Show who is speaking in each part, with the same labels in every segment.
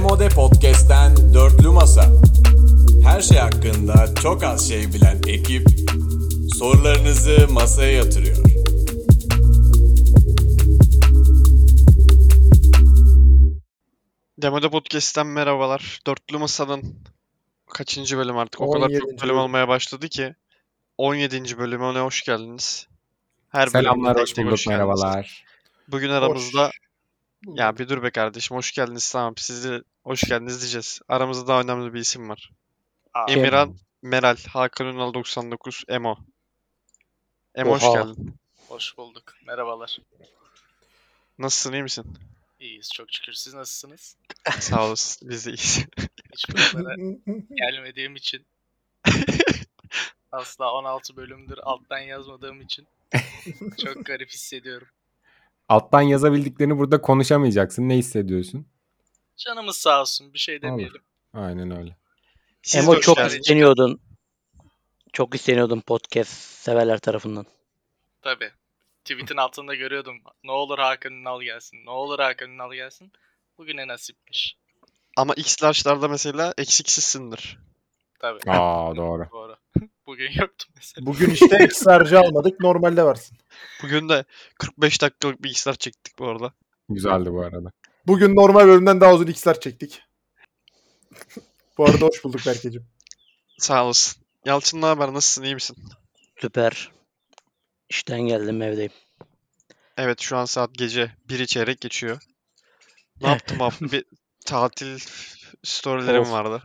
Speaker 1: Komode Podcast'ten Dörtlü Masa. Her şey hakkında çok az şey bilen ekip sorularınızı masaya yatırıyor.
Speaker 2: Demoda Podcast'ten merhabalar. Dörtlü Masa'nın kaçıncı bölüm artık? O kadar çok
Speaker 3: 17.
Speaker 2: bölüm olmaya başladı ki. 17. bölüme ona hoş geldiniz. Her bölümde
Speaker 4: Selamlar,
Speaker 2: tek
Speaker 4: hoş
Speaker 2: tek
Speaker 4: bulduk,
Speaker 2: geldiniz.
Speaker 4: merhabalar.
Speaker 2: Bugün aramızda... Ya bir dur be kardeşim, hoş geldiniz tamam. Siz de hoş geldiniz diyeceğiz. Aramızda daha önemli bir isim var. Emirhan Meral, Hakan Ünal 99, Emo. Emo hoş
Speaker 4: Oha.
Speaker 2: geldin.
Speaker 5: Hoş bulduk. Merhabalar.
Speaker 2: Nasılsın, iyi misin?
Speaker 5: İyiyiz çok şükür. Siz nasılsınız?
Speaker 2: Sağ olasın, biz de iyiyiz.
Speaker 5: Hiç bölümlere gelmediğim için. Asla 16 bölümdür alttan yazmadığım için. Çok garip hissediyorum.
Speaker 4: Alttan yazabildiklerini burada konuşamayacaksın. Ne hissediyorsun?
Speaker 5: Canımız sağ olsun. Bir şey demeyelim.
Speaker 4: Aynen öyle.
Speaker 2: Siz de
Speaker 6: Emo
Speaker 2: hoş
Speaker 6: çok
Speaker 2: geldiniz.
Speaker 6: isteniyordun. Çok isteniyordun podcast severler tarafından.
Speaker 5: Tabii. Tweet'in altında görüyordum. Ne olur Hakan Ünal gelsin. Ne olur Hakan Ünal gelsin. Bugüne nasipmiş.
Speaker 2: Ama X-Large'larda mesela eksiksizsindir.
Speaker 5: Tabii.
Speaker 4: Aa doğru.
Speaker 5: Doğru. Bugün yoktu mesela.
Speaker 3: Bugün işte eksarcı almadık. Normalde varsın.
Speaker 2: Bugün de 45 dakikalık bir X-Large çektik bu arada.
Speaker 4: Güzeldi bu arada.
Speaker 3: Bugün normal bölümden daha uzun x'ler çektik. Bu arada hoş bulduk Berkeciğim.
Speaker 2: Sağ olasın. Yalçın ne haber? Nasılsın? iyi misin?
Speaker 6: Süper. İşten geldim evdeyim.
Speaker 2: Evet şu an saat gece 1 çeyrek geçiyor. Ne yaptım bu hafta? Bir tatil storylerim
Speaker 4: Of.
Speaker 2: vardı.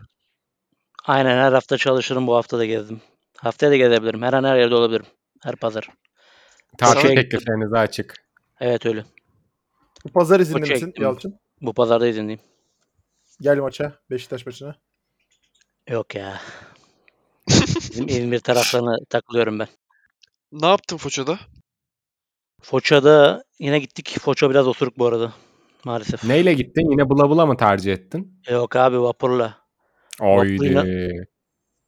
Speaker 6: Aynen her hafta çalışırım bu hafta da gezdim. Haftaya da gezebilirim. Her an her yerde olabilirim. Her pazar.
Speaker 4: Tatil
Speaker 2: Sana-
Speaker 4: teklifleriniz açık.
Speaker 6: Evet öyle.
Speaker 3: Bu Pazar izinli
Speaker 6: Maça
Speaker 3: misin
Speaker 6: gittim.
Speaker 3: Yalçın?
Speaker 6: Bu pazarda izinliyim.
Speaker 3: Gel maça. Beşiktaş maçına.
Speaker 6: Yok ya. Bizim İzmir taraflarına takılıyorum ben.
Speaker 2: Ne yaptın Foça'da?
Speaker 6: Foça'da yine gittik. Foça biraz osuruk bu arada. Maalesef.
Speaker 4: Neyle gittin? Yine bula bula mı tercih ettin?
Speaker 6: Yok abi vapurla. Vapurla.
Speaker 4: Oydi.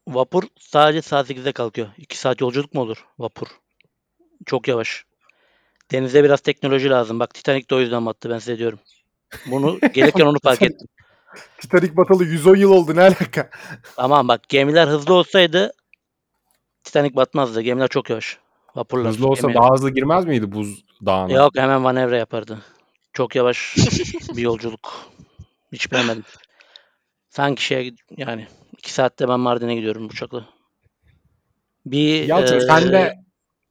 Speaker 6: Vapur sadece saat 8'de kalkıyor. 2 saat yolculuk mu olur vapur? Çok yavaş. Denize biraz teknoloji lazım. Bak Titanic de o yüzden battı ben size diyorum. Bunu gelirken onu fark
Speaker 3: Titanic-
Speaker 6: ettim.
Speaker 3: Titanik batalı 110 yıl oldu ne alaka?
Speaker 6: Aman bak gemiler hızlı olsaydı Titanic batmazdı. Gemiler çok yavaş. Vapurlar.
Speaker 4: Hızlı olsa
Speaker 6: gemi-
Speaker 4: daha hızlı girmez miydi buz dağına?
Speaker 6: Yok hemen manevra yapardı. Çok yavaş bir yolculuk. Hiç beğenmedim. Sanki şey yani 2 saatte ben Mardin'e gidiyorum uçakla. Bir
Speaker 4: Yalçın
Speaker 6: eee,
Speaker 4: sen de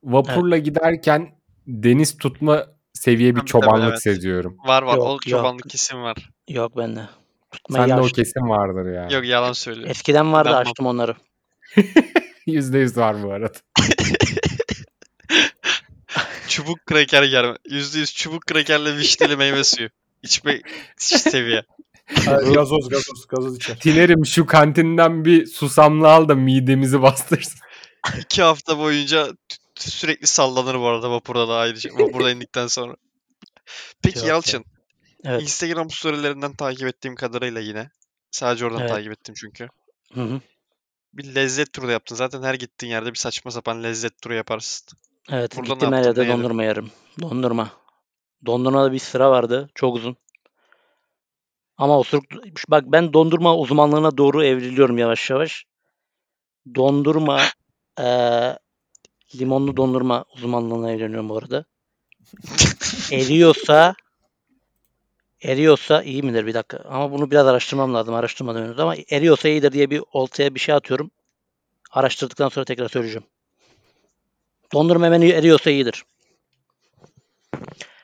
Speaker 4: vapurla giderken deniz tutma seviye bir
Speaker 2: Tabii,
Speaker 4: çobanlık
Speaker 2: tabii, evet.
Speaker 4: seziyorum.
Speaker 2: Var var.
Speaker 6: Yok,
Speaker 2: o
Speaker 6: yok.
Speaker 2: çobanlık kesim var.
Speaker 6: yok bende. Tutmayı
Speaker 4: Sen de o
Speaker 6: yavaş-
Speaker 4: kesin vardır ya.
Speaker 2: Yok yalan söylüyor.
Speaker 6: Eskiden vardı
Speaker 2: Yapma.
Speaker 6: açtım onları.
Speaker 4: Yüzde yüz var bu arada.
Speaker 2: Çubuk kraker yer. %100 çubuk krakerle vişneli meyve suyu. İçme seviye.
Speaker 3: Ha, gazoz gazoz gazoz içer.
Speaker 4: Dilerim şu kantinden bir susamlı al da midemizi bastırsın.
Speaker 2: İki hafta boyunca t- t- sürekli sallanır bu arada vapurda da ayrıca. Vapurda indikten sonra. Peki
Speaker 6: Yok ya.
Speaker 2: Yalçın.
Speaker 6: Evet.
Speaker 2: Instagram storylerinden takip ettiğim kadarıyla yine. Sadece oradan
Speaker 6: Evet.
Speaker 2: takip ettim çünkü.
Speaker 6: Hı hı.
Speaker 2: Bir lezzet turu da yaptın. Zaten her gittiğin yerde bir saçma sapan lezzet turu yaparsın.
Speaker 6: Evet
Speaker 2: Burada ne
Speaker 6: gittim her
Speaker 2: yaptın, ne
Speaker 6: yerde
Speaker 2: yedin?
Speaker 6: dondurma yerim. Dondurma. Dondurmada bir sıra vardı. Çok uzun. Ama osuruk... Bak ben dondurma uzmanlığına doğru evriliyorum yavaş yavaş. Dondurma eee, limonlu dondurma uzmanlığına evriliyorum bu arada. eriyorsa eriyorsa iyi midir bir dakika. Ama bunu biraz araştırmam lazım. Araştırmadım henüz ama eriyorsa iyidir diye bir oltaya bir şey atıyorum. Araştırdıktan sonra tekrar söyleyeceğim. Dondurma hemen eriyorsa iyidir.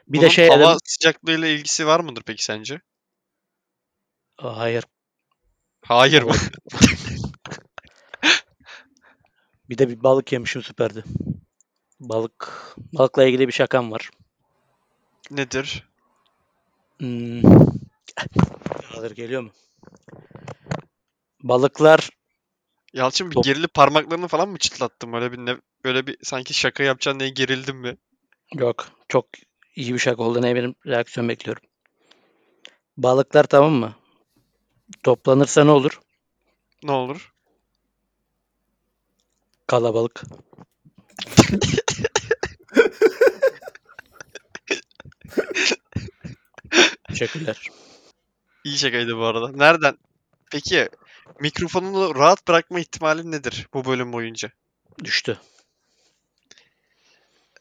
Speaker 6: Bir
Speaker 2: Bunun
Speaker 6: de şey
Speaker 2: hava
Speaker 6: dedim.
Speaker 2: sıcaklığıyla ilgisi var mıdır peki sence?
Speaker 6: Aa, Hayır.
Speaker 2: Hayır mı?
Speaker 6: Bir de bir balık yemişim süperdi. Balık. Balıkla ilgili bir şakam var.
Speaker 2: Nedir?
Speaker 6: Hmm. Hazır geliyor mu? Balıklar
Speaker 2: Yalçın bir
Speaker 6: Top-
Speaker 2: gerilip parmaklarını falan mı çıtlattın? Böyle bir ne- böyle bir sanki şaka yapacaksın diye gerildin mi?
Speaker 6: Yok. Çok iyi bir şaka oldu. Ne benim reaksiyon bekliyorum. Balıklar tamam mı? Toplanırsa ne olur?
Speaker 2: Ne olur?
Speaker 6: Kalabalık. Teşekkürler.
Speaker 2: İyi şakaydı bu arada. Nereden? Peki mikrofonunu rahat bırakma ihtimalin nedir bu bölüm boyunca?
Speaker 6: Düştü.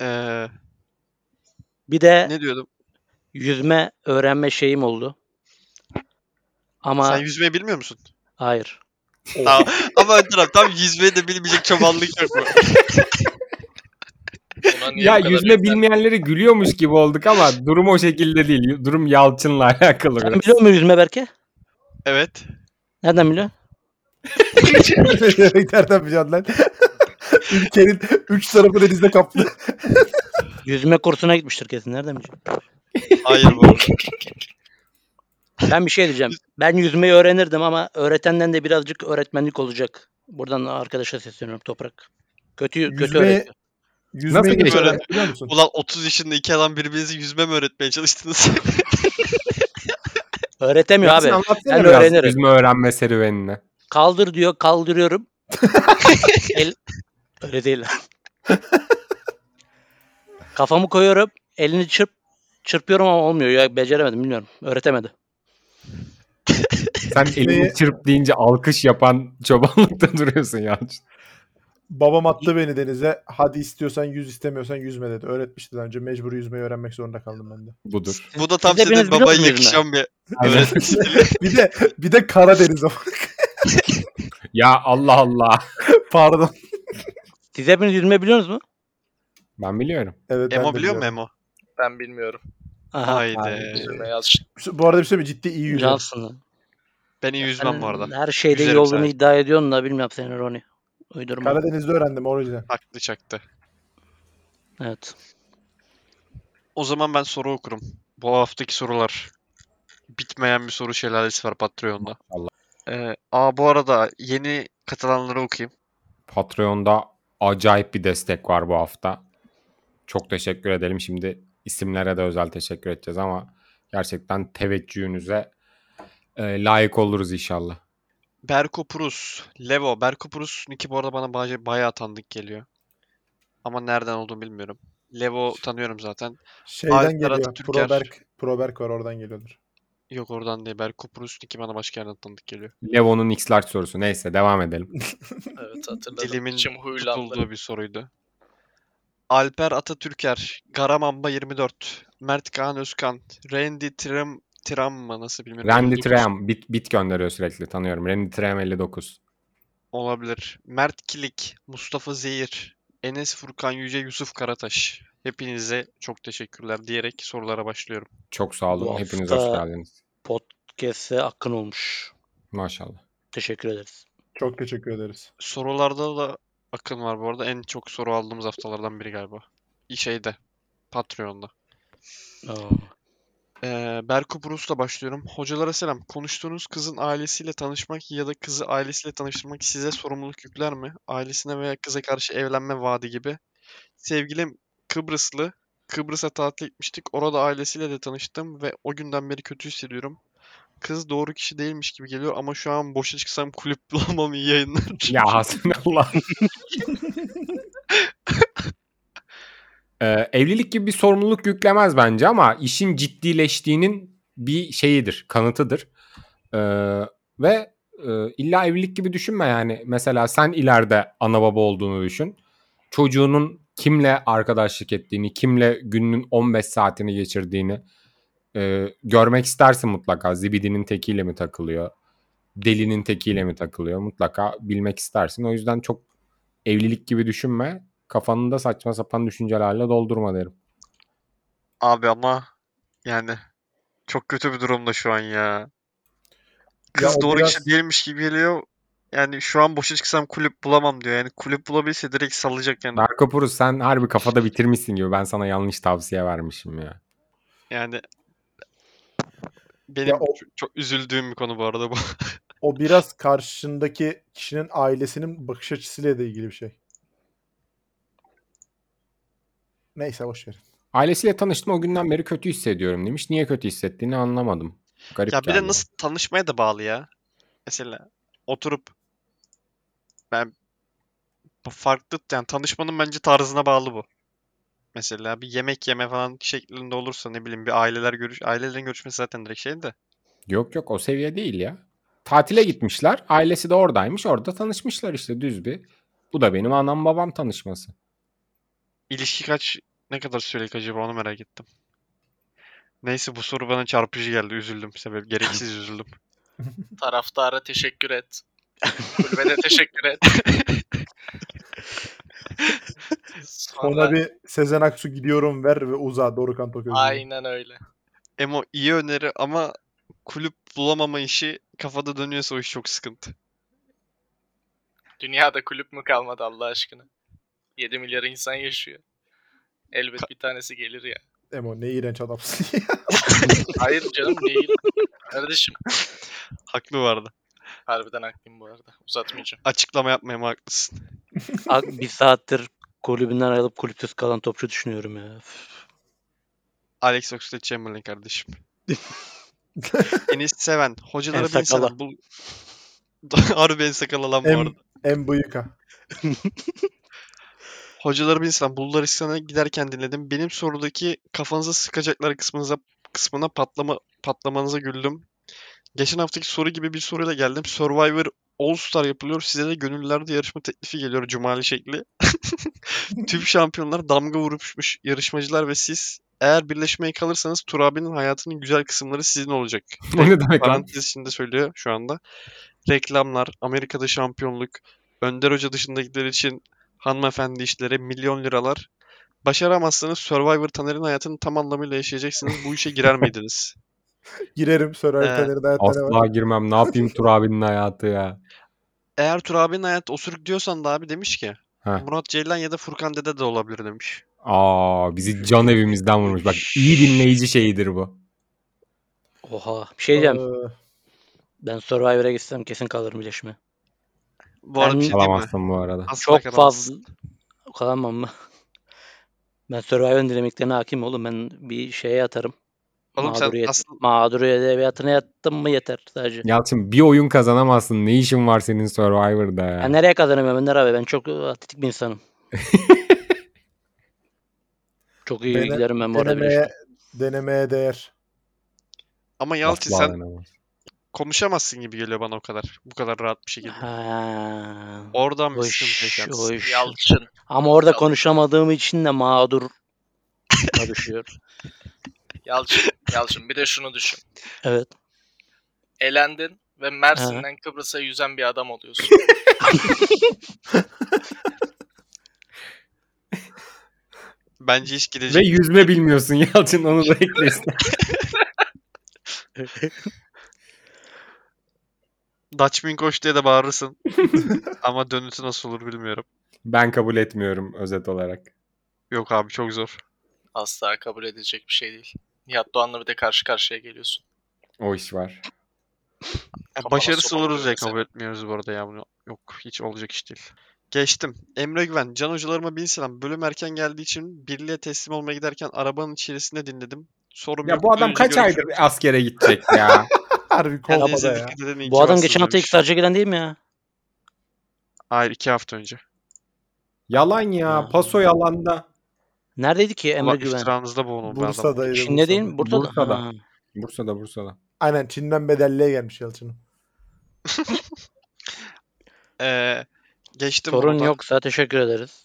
Speaker 2: Ee,
Speaker 6: Bir de
Speaker 2: ne diyordum?
Speaker 6: yüzme öğrenme şeyim oldu. Ama
Speaker 2: Sen yüzmeyi bilmiyor musun?
Speaker 6: hayır.
Speaker 3: Oh.
Speaker 2: Tamam. Ama Önder abi tam yüzmeyi de bilmeyecek çaballık yok mu?
Speaker 5: Buna niye
Speaker 4: Ya
Speaker 5: bu kadar
Speaker 4: yüzme
Speaker 5: yüklen-
Speaker 4: bilmeyenleri gülüyormuş gibi olduk ama durum o şekilde değil. Durum Yalçın'la alakalı
Speaker 6: Sen
Speaker 4: biraz.
Speaker 6: biliyor musun yüzme Berke?
Speaker 2: Evet.
Speaker 6: Nereden biliyorsun?
Speaker 3: Nereden bileceksin lan? Ülkenin üç tarafı denizle kaplı.
Speaker 6: Yüzme kursuna gitmiştir kesin. Nereden bileceksin?
Speaker 2: Hayır bu arada.
Speaker 6: Ben bir şey diyeceğim. Ben yüzmeyi öğrenirdim ama öğretenden de birazcık öğretmenlik olacak. Buradan arkadaşa sesleniyorum Toprak. Kötü kötü
Speaker 3: Yüzmeyi-
Speaker 6: öğretiyor.
Speaker 3: Yüzmeyi
Speaker 4: geçti?
Speaker 3: geçti? Biliyor musun?
Speaker 2: Ulan 30 yaşında iki adam birbirinizi yüzme mi öğretmeye çalıştınız?
Speaker 6: Öğretemiyor
Speaker 4: Yalçın
Speaker 6: abi.
Speaker 4: anlatsana
Speaker 6: ben
Speaker 4: biraz
Speaker 6: öğrenirim.
Speaker 4: yüzme öğrenme serüvenini.
Speaker 6: Kaldır diyor, kaldırıyorum. El... Öyle değil. Kafamı koyuyorum, elini çırp, çırpıyorum ama olmuyor. Ya beceremedim, bilmiyorum. Öğretemedi.
Speaker 4: Sen elini çırp deyince alkış yapan çobanlıkta duruyorsun Yalçın.
Speaker 3: Babam attı beni denize. Hadi istiyorsan yüz istemiyorsan yüzme dedi. Öğretmişti daha önce. Mecbur yüzmeyi öğrenmek zorunda kaldım ben de.
Speaker 4: Budur.
Speaker 2: bu da tam
Speaker 6: Siz hepiniz
Speaker 2: senin
Speaker 6: biliyor
Speaker 2: babaya
Speaker 6: musunuz
Speaker 2: yakışan bir
Speaker 4: Aynen.
Speaker 2: öğretmen.
Speaker 3: bir de bir de Karadeniz ama.
Speaker 4: ya Allah Allah.
Speaker 3: Pardon.
Speaker 6: Siz hepiniz yüzme biliyorsunuz mu?
Speaker 4: Ben biliyorum.
Speaker 3: Evet, ben
Speaker 2: Emo
Speaker 3: de
Speaker 2: biliyor mu
Speaker 3: biliyorum.
Speaker 2: Emo?
Speaker 5: Ben bilmiyorum.
Speaker 6: Aha.
Speaker 2: Haydi.
Speaker 5: Yüzme yaz.
Speaker 3: Bu arada bir şey mi? Ciddi iyi yüzüyor.
Speaker 6: Cansın. lan.
Speaker 2: Ben iyi yüzmem bu
Speaker 6: Sen
Speaker 2: arada.
Speaker 6: Her şeyde iyi
Speaker 2: Yüzerim
Speaker 6: olduğunu
Speaker 2: sadece.
Speaker 6: iddia ediyorsun da bilmiyorum seni Roni. Uydurma.
Speaker 3: Karadeniz'de öğrendim o yüzden.
Speaker 2: Haklı çaktı.
Speaker 6: Evet.
Speaker 2: O zaman ben soru okurum. Bu haftaki sorular. Bitmeyen bir soru şelalesi var Patreon'da.
Speaker 4: Allah.
Speaker 2: Ee, aa bu arada yeni katılanları okuyayım.
Speaker 4: Patreon'da acayip bir destek var bu hafta. Çok teşekkür edelim. Şimdi isimlere de özel teşekkür edeceğiz ama gerçekten teveccühünüze e, layık oluruz inşallah.
Speaker 2: Berko Prus. Levo. Berko Prus Niki bu arada bana bayağı, bayağı tanıdık geliyor. Ama nereden olduğunu bilmiyorum. Levo tanıyorum zaten.
Speaker 3: Şeyden
Speaker 2: Alper
Speaker 3: geliyor.
Speaker 2: Atatürker.
Speaker 3: Proberk, Proberk var oradan geliyordur.
Speaker 2: Yok oradan değil. Berko Prus Niki bana başka yerden tanıdık geliyor.
Speaker 4: Levo'nun X-Large sorusu. Neyse devam edelim.
Speaker 5: Evet hatırladım.
Speaker 2: Dilimin
Speaker 5: İçim huylandı.
Speaker 2: tutulduğu bir soruydu. Alper Atatürker, Garamamba 24, Mert Kaan Özkan, Randy Tram, Tram mı nasıl bilmiyorum.
Speaker 4: Randy
Speaker 2: 59
Speaker 4: Trem bit, bit gönderiyor sürekli tanıyorum. Randy Trem 59.
Speaker 2: Olabilir. Mert Kilik, Mustafa Zehir, Enes Furkan Yüce, Yusuf Karataş. Hepinize çok teşekkürler diyerek sorulara başlıyorum.
Speaker 4: Çok sağ olun.
Speaker 6: Bu
Speaker 4: Hepiniz
Speaker 6: hafta-
Speaker 4: hoş geldiniz.
Speaker 6: Kese akın olmuş.
Speaker 4: Maşallah.
Speaker 6: Teşekkür ederiz.
Speaker 3: Çok teşekkür ederiz.
Speaker 2: Sorularda da akın var bu arada. En çok soru aldığımız haftalardan biri galiba. Şeyde, Patreon'da.
Speaker 6: Aa.
Speaker 2: Ee, Berko Brus'la başlıyorum. Hocalara selam. Konuştuğunuz kızın ailesiyle tanışmak ya da kızı ailesiyle tanıştırmak size sorumluluk yükler mi? Ailesine veya kıza karşı evlenme vaadi gibi. Sevgilim Kıbrıslı. Kıbrıs'a tatile gitmiştik. Orada ailesiyle de tanıştım ve o günden beri kötü hissediyorum. Kız doğru kişi değilmiş gibi geliyor ama şu an boşa çıksam kulüp bulamam iyi yayınlar.
Speaker 4: Ya hasbinallah. Ee, evlilik gibi bir sorumluluk yüklemez bence ama işin ciddileştiğinin bir şeyidir, kanıtıdır. Ee, ve e, illa evlilik gibi düşünme yani. Mesela sen ileride ana baba olduğunu düşün. Çocuğunun kimle arkadaşlık ettiğini, kimle gününün 15 saatini geçirdiğini e, görmek istersin mutlaka. Zibidinin tekiyle mi takılıyor? Delinin tekiyle mi takılıyor? Mutlaka bilmek istersin. O yüzden çok evlilik gibi düşünme. Kafanı da saçma sapan düşüncelerle doldurma derim.
Speaker 2: Abi ama yani çok kötü bir durumda şu an ya. Kız
Speaker 3: o
Speaker 2: doğru
Speaker 3: biraz-
Speaker 2: kişi değilmiş gibi geliyor. Yani şu an boşa çıksam kulüp bulamam diyor. Yani kulüp bulabilse direkt salacak yani.
Speaker 4: Darko Purus sen harbi kafada bitirmişsin gibi. Ben sana yanlış tavsiye vermişim ya.
Speaker 2: Yani benim
Speaker 3: o-
Speaker 2: çok- çok üzüldüğüm bir konu bu arada bu.
Speaker 3: O biraz karşındaki kişinin ailesinin bakış açısıyla da ilgili bir şey. Neyse boş verin.
Speaker 4: Ailesiyle tanıştım o günden beri kötü hissediyorum demiş. Niye kötü hissettiğini anlamadım. Garip
Speaker 2: Ya bir de
Speaker 4: geldi.
Speaker 2: nasıl tanışmaya da bağlı ya. Mesela oturup ben bu farklı yani tanışmanın bence tarzına bağlı bu. Mesela bir yemek yeme falan şeklinde olursa ne bileyim bir aileler görüş ailelerin görüşmesi zaten direkt şey de
Speaker 4: Yok yok o seviye değil ya. Tatile gitmişler. Ailesi de oradaymış. Orada tanışmışlar işte düz bir. Bu da benim anam babam tanışması.
Speaker 2: İlişki kaç ne kadar sürelik acaba onu merak ettim. Neyse bu soru bana çarpıcı geldi. Üzüldüm. Sebep gereksiz üzüldüm.
Speaker 5: Taraftara teşekkür et. Kulübede teşekkür et. Sonra
Speaker 3: Ona bir Sezen Aksu gidiyorum ver ve uza Dorukhan Toköz'ü.
Speaker 5: aynen öyle.
Speaker 2: Emo iyi öneri ama kulüp bulamama işi kafada dönüyorsa o iş çok sıkıntı.
Speaker 5: Dünyada kulüp mü kalmadı Allah aşkına? 7 milyar insan yaşıyor. Elbet bir tanesi gelir ya.
Speaker 3: Emo ne iğrenç adamsın ya.
Speaker 5: Hayır canım değil. Kardeşim
Speaker 2: Haklı vardı.
Speaker 5: harbiden haklıyım bu arada. Uzatmayacağım.
Speaker 2: Açıklama yapmaya mı haklısın?
Speaker 6: Ak- bir saattir kulübünden ayrılıp kulüpsüz kalan topçu düşünüyorum ya. Üf.
Speaker 2: Alex Oxlade-Chamberlain kardeşim. Enis Seven. Hocalara
Speaker 6: En
Speaker 2: bin
Speaker 6: sakala.
Speaker 2: selam. Bul... Harbi en sakala lan bu
Speaker 3: En-
Speaker 2: arada.
Speaker 3: en bıyıka.
Speaker 2: Hocaları bin selam. Bulgaristan'a giderken dinledim. Benim sorudaki kafanıza sıkacaklar kısmınıza kısmına patlama patlamanıza güldüm. Geçen haftaki soru gibi bir soruyla geldim. Survivor All Star yapılıyor. Size de gönüllerde yarışma teklifi geliyor cumali şekli. Tüm şampiyonlar damga vurmuş yarışmacılar ve siz eğer birleşmeye kalırsanız Tur abinin hayatının güzel kısımları sizin olacak.
Speaker 4: O ne demek lan?
Speaker 2: Parantez içinde söylüyor şu anda. Reklamlar, Amerika'da şampiyonluk, Önder Hoca dışındakiler için hanımefendi işleri, milyon liralar. Başaramazsanız Survivor Taner'in hayatını tam anlamıyla yaşayacaksınız. Bu işe girer miydiniz?
Speaker 3: Girerim Survivor
Speaker 2: Ee,
Speaker 3: Taner'de hayatta ne
Speaker 4: Asla
Speaker 3: var?
Speaker 4: girmem. Ne yapayım Tur abinin hayatı ya.
Speaker 2: Eğer Tur abinin hayatı osuruk diyorsan da abi demiş ki
Speaker 4: Heh.
Speaker 2: Murat Ceylan ya da Furkan Dede de olabilir demiş.
Speaker 4: Aa bizi can evimizden vurmuş. Bak iyi dinleyici şeyidir bu.
Speaker 6: Oha. Bir şey diyeceğim.
Speaker 3: Ee,
Speaker 6: Ben Survivor'a gitsem kesin kalırım birleşme.
Speaker 2: Bu arada
Speaker 6: Ben-
Speaker 2: bir şey diyeyim mi?
Speaker 4: Alamazsın bu arada.
Speaker 2: Asla
Speaker 6: Çok
Speaker 2: kalamazsın.
Speaker 6: fazla kalamam mı? Ben Survivor'ın dinamiklerine hakim oğlum. Ben bir şeye atarım.
Speaker 2: Oğlum sen
Speaker 6: Mağduriyet,
Speaker 2: asıl
Speaker 6: mağduriyet edebiyatına yattım mı yeter sadece.
Speaker 4: Yalçın bir oyun kazanamazsın. Ne işin var senin Survivor'da ya?
Speaker 6: Ben nereye kazanamıyorum Önder abi? Ben çok atletik bir insanım. çok iyi
Speaker 3: Dene-
Speaker 6: giderim ben bu arada
Speaker 3: denemeye,
Speaker 6: birleşme.
Speaker 3: denemeye değer.
Speaker 2: ama Yalçın
Speaker 4: Asla
Speaker 2: sen
Speaker 4: denemem.
Speaker 2: konuşamazsın gibi geliyor bana o kadar. Bu kadar rahat bir şekilde.
Speaker 6: Ha.
Speaker 2: Oradan bir
Speaker 6: O
Speaker 2: sıkıntı
Speaker 6: iş,
Speaker 2: yaşarsın.
Speaker 6: o iş.
Speaker 5: Yalçın.
Speaker 6: Ama orada
Speaker 5: Yalçın.
Speaker 6: konuşamadığım için de mağdur düşüyor.
Speaker 5: Yalçın. Yalçın bir de şunu düşün.
Speaker 6: Evet.
Speaker 5: Elendin ve Mersin'den Kıbrıs'a yüzen bir adam oluyorsun.
Speaker 2: Bence iş gidecek.
Speaker 4: Ve yüzme bilmiyorsun Yalçın onu da eklesin.
Speaker 2: Dutch Minkoş diye de bağırırsın. Ama dönütü nasıl olur bilmiyorum.
Speaker 4: ben kabul etmiyorum özet olarak.
Speaker 2: Yok abi çok zor.
Speaker 5: Asla kabul edilecek bir şey değil. Nihat Doğan'la bir de karşı karşıya geliyorsun.
Speaker 4: O iş var.
Speaker 2: Ya
Speaker 5: Kafana
Speaker 2: başarısız
Speaker 5: sopa
Speaker 2: oluruz diye
Speaker 5: vuruyor
Speaker 2: kabul etmiyoruz bu arada ya bunu. Yok hiç olacak iş değil. Geçtim. Emre Güven. Can hocalarıma bin selam. Bölüm erken geldiği için birliğe teslim olmaya giderken arabanın içerisinde dinledim. Sorum
Speaker 4: Ya
Speaker 2: yok.
Speaker 4: bu adam
Speaker 2: Önce
Speaker 4: kaç aydır
Speaker 2: görüşürüz.
Speaker 4: askere gidecek ya?
Speaker 3: Harbi
Speaker 2: Kendinize
Speaker 3: kovada ya.
Speaker 2: dikkat edin, iyi ki
Speaker 6: Bu adam
Speaker 2: varsınız
Speaker 6: geçen hafta ilk
Speaker 2: demiş.
Speaker 6: sarca gelen değil mi ya?
Speaker 2: Hayır iki hafta önce.
Speaker 4: Yalan ya.
Speaker 6: Ha.
Speaker 4: Paso yalanda.
Speaker 6: Neredeydi ki Emre
Speaker 2: Allah
Speaker 6: Güven?
Speaker 2: iftiranızda bulunun be adam.
Speaker 3: Bursa'daydı.
Speaker 6: Çin'de değil mi? Burada
Speaker 4: Bursa'da.
Speaker 6: da.
Speaker 4: Bursa'da Bursa'da.
Speaker 3: Aynen Çin'den bedelliye gelmiş Yalçın'ın.
Speaker 2: Ee, geçtim
Speaker 6: Sorun
Speaker 2: bunu da.
Speaker 6: yoksa teşekkür ederiz.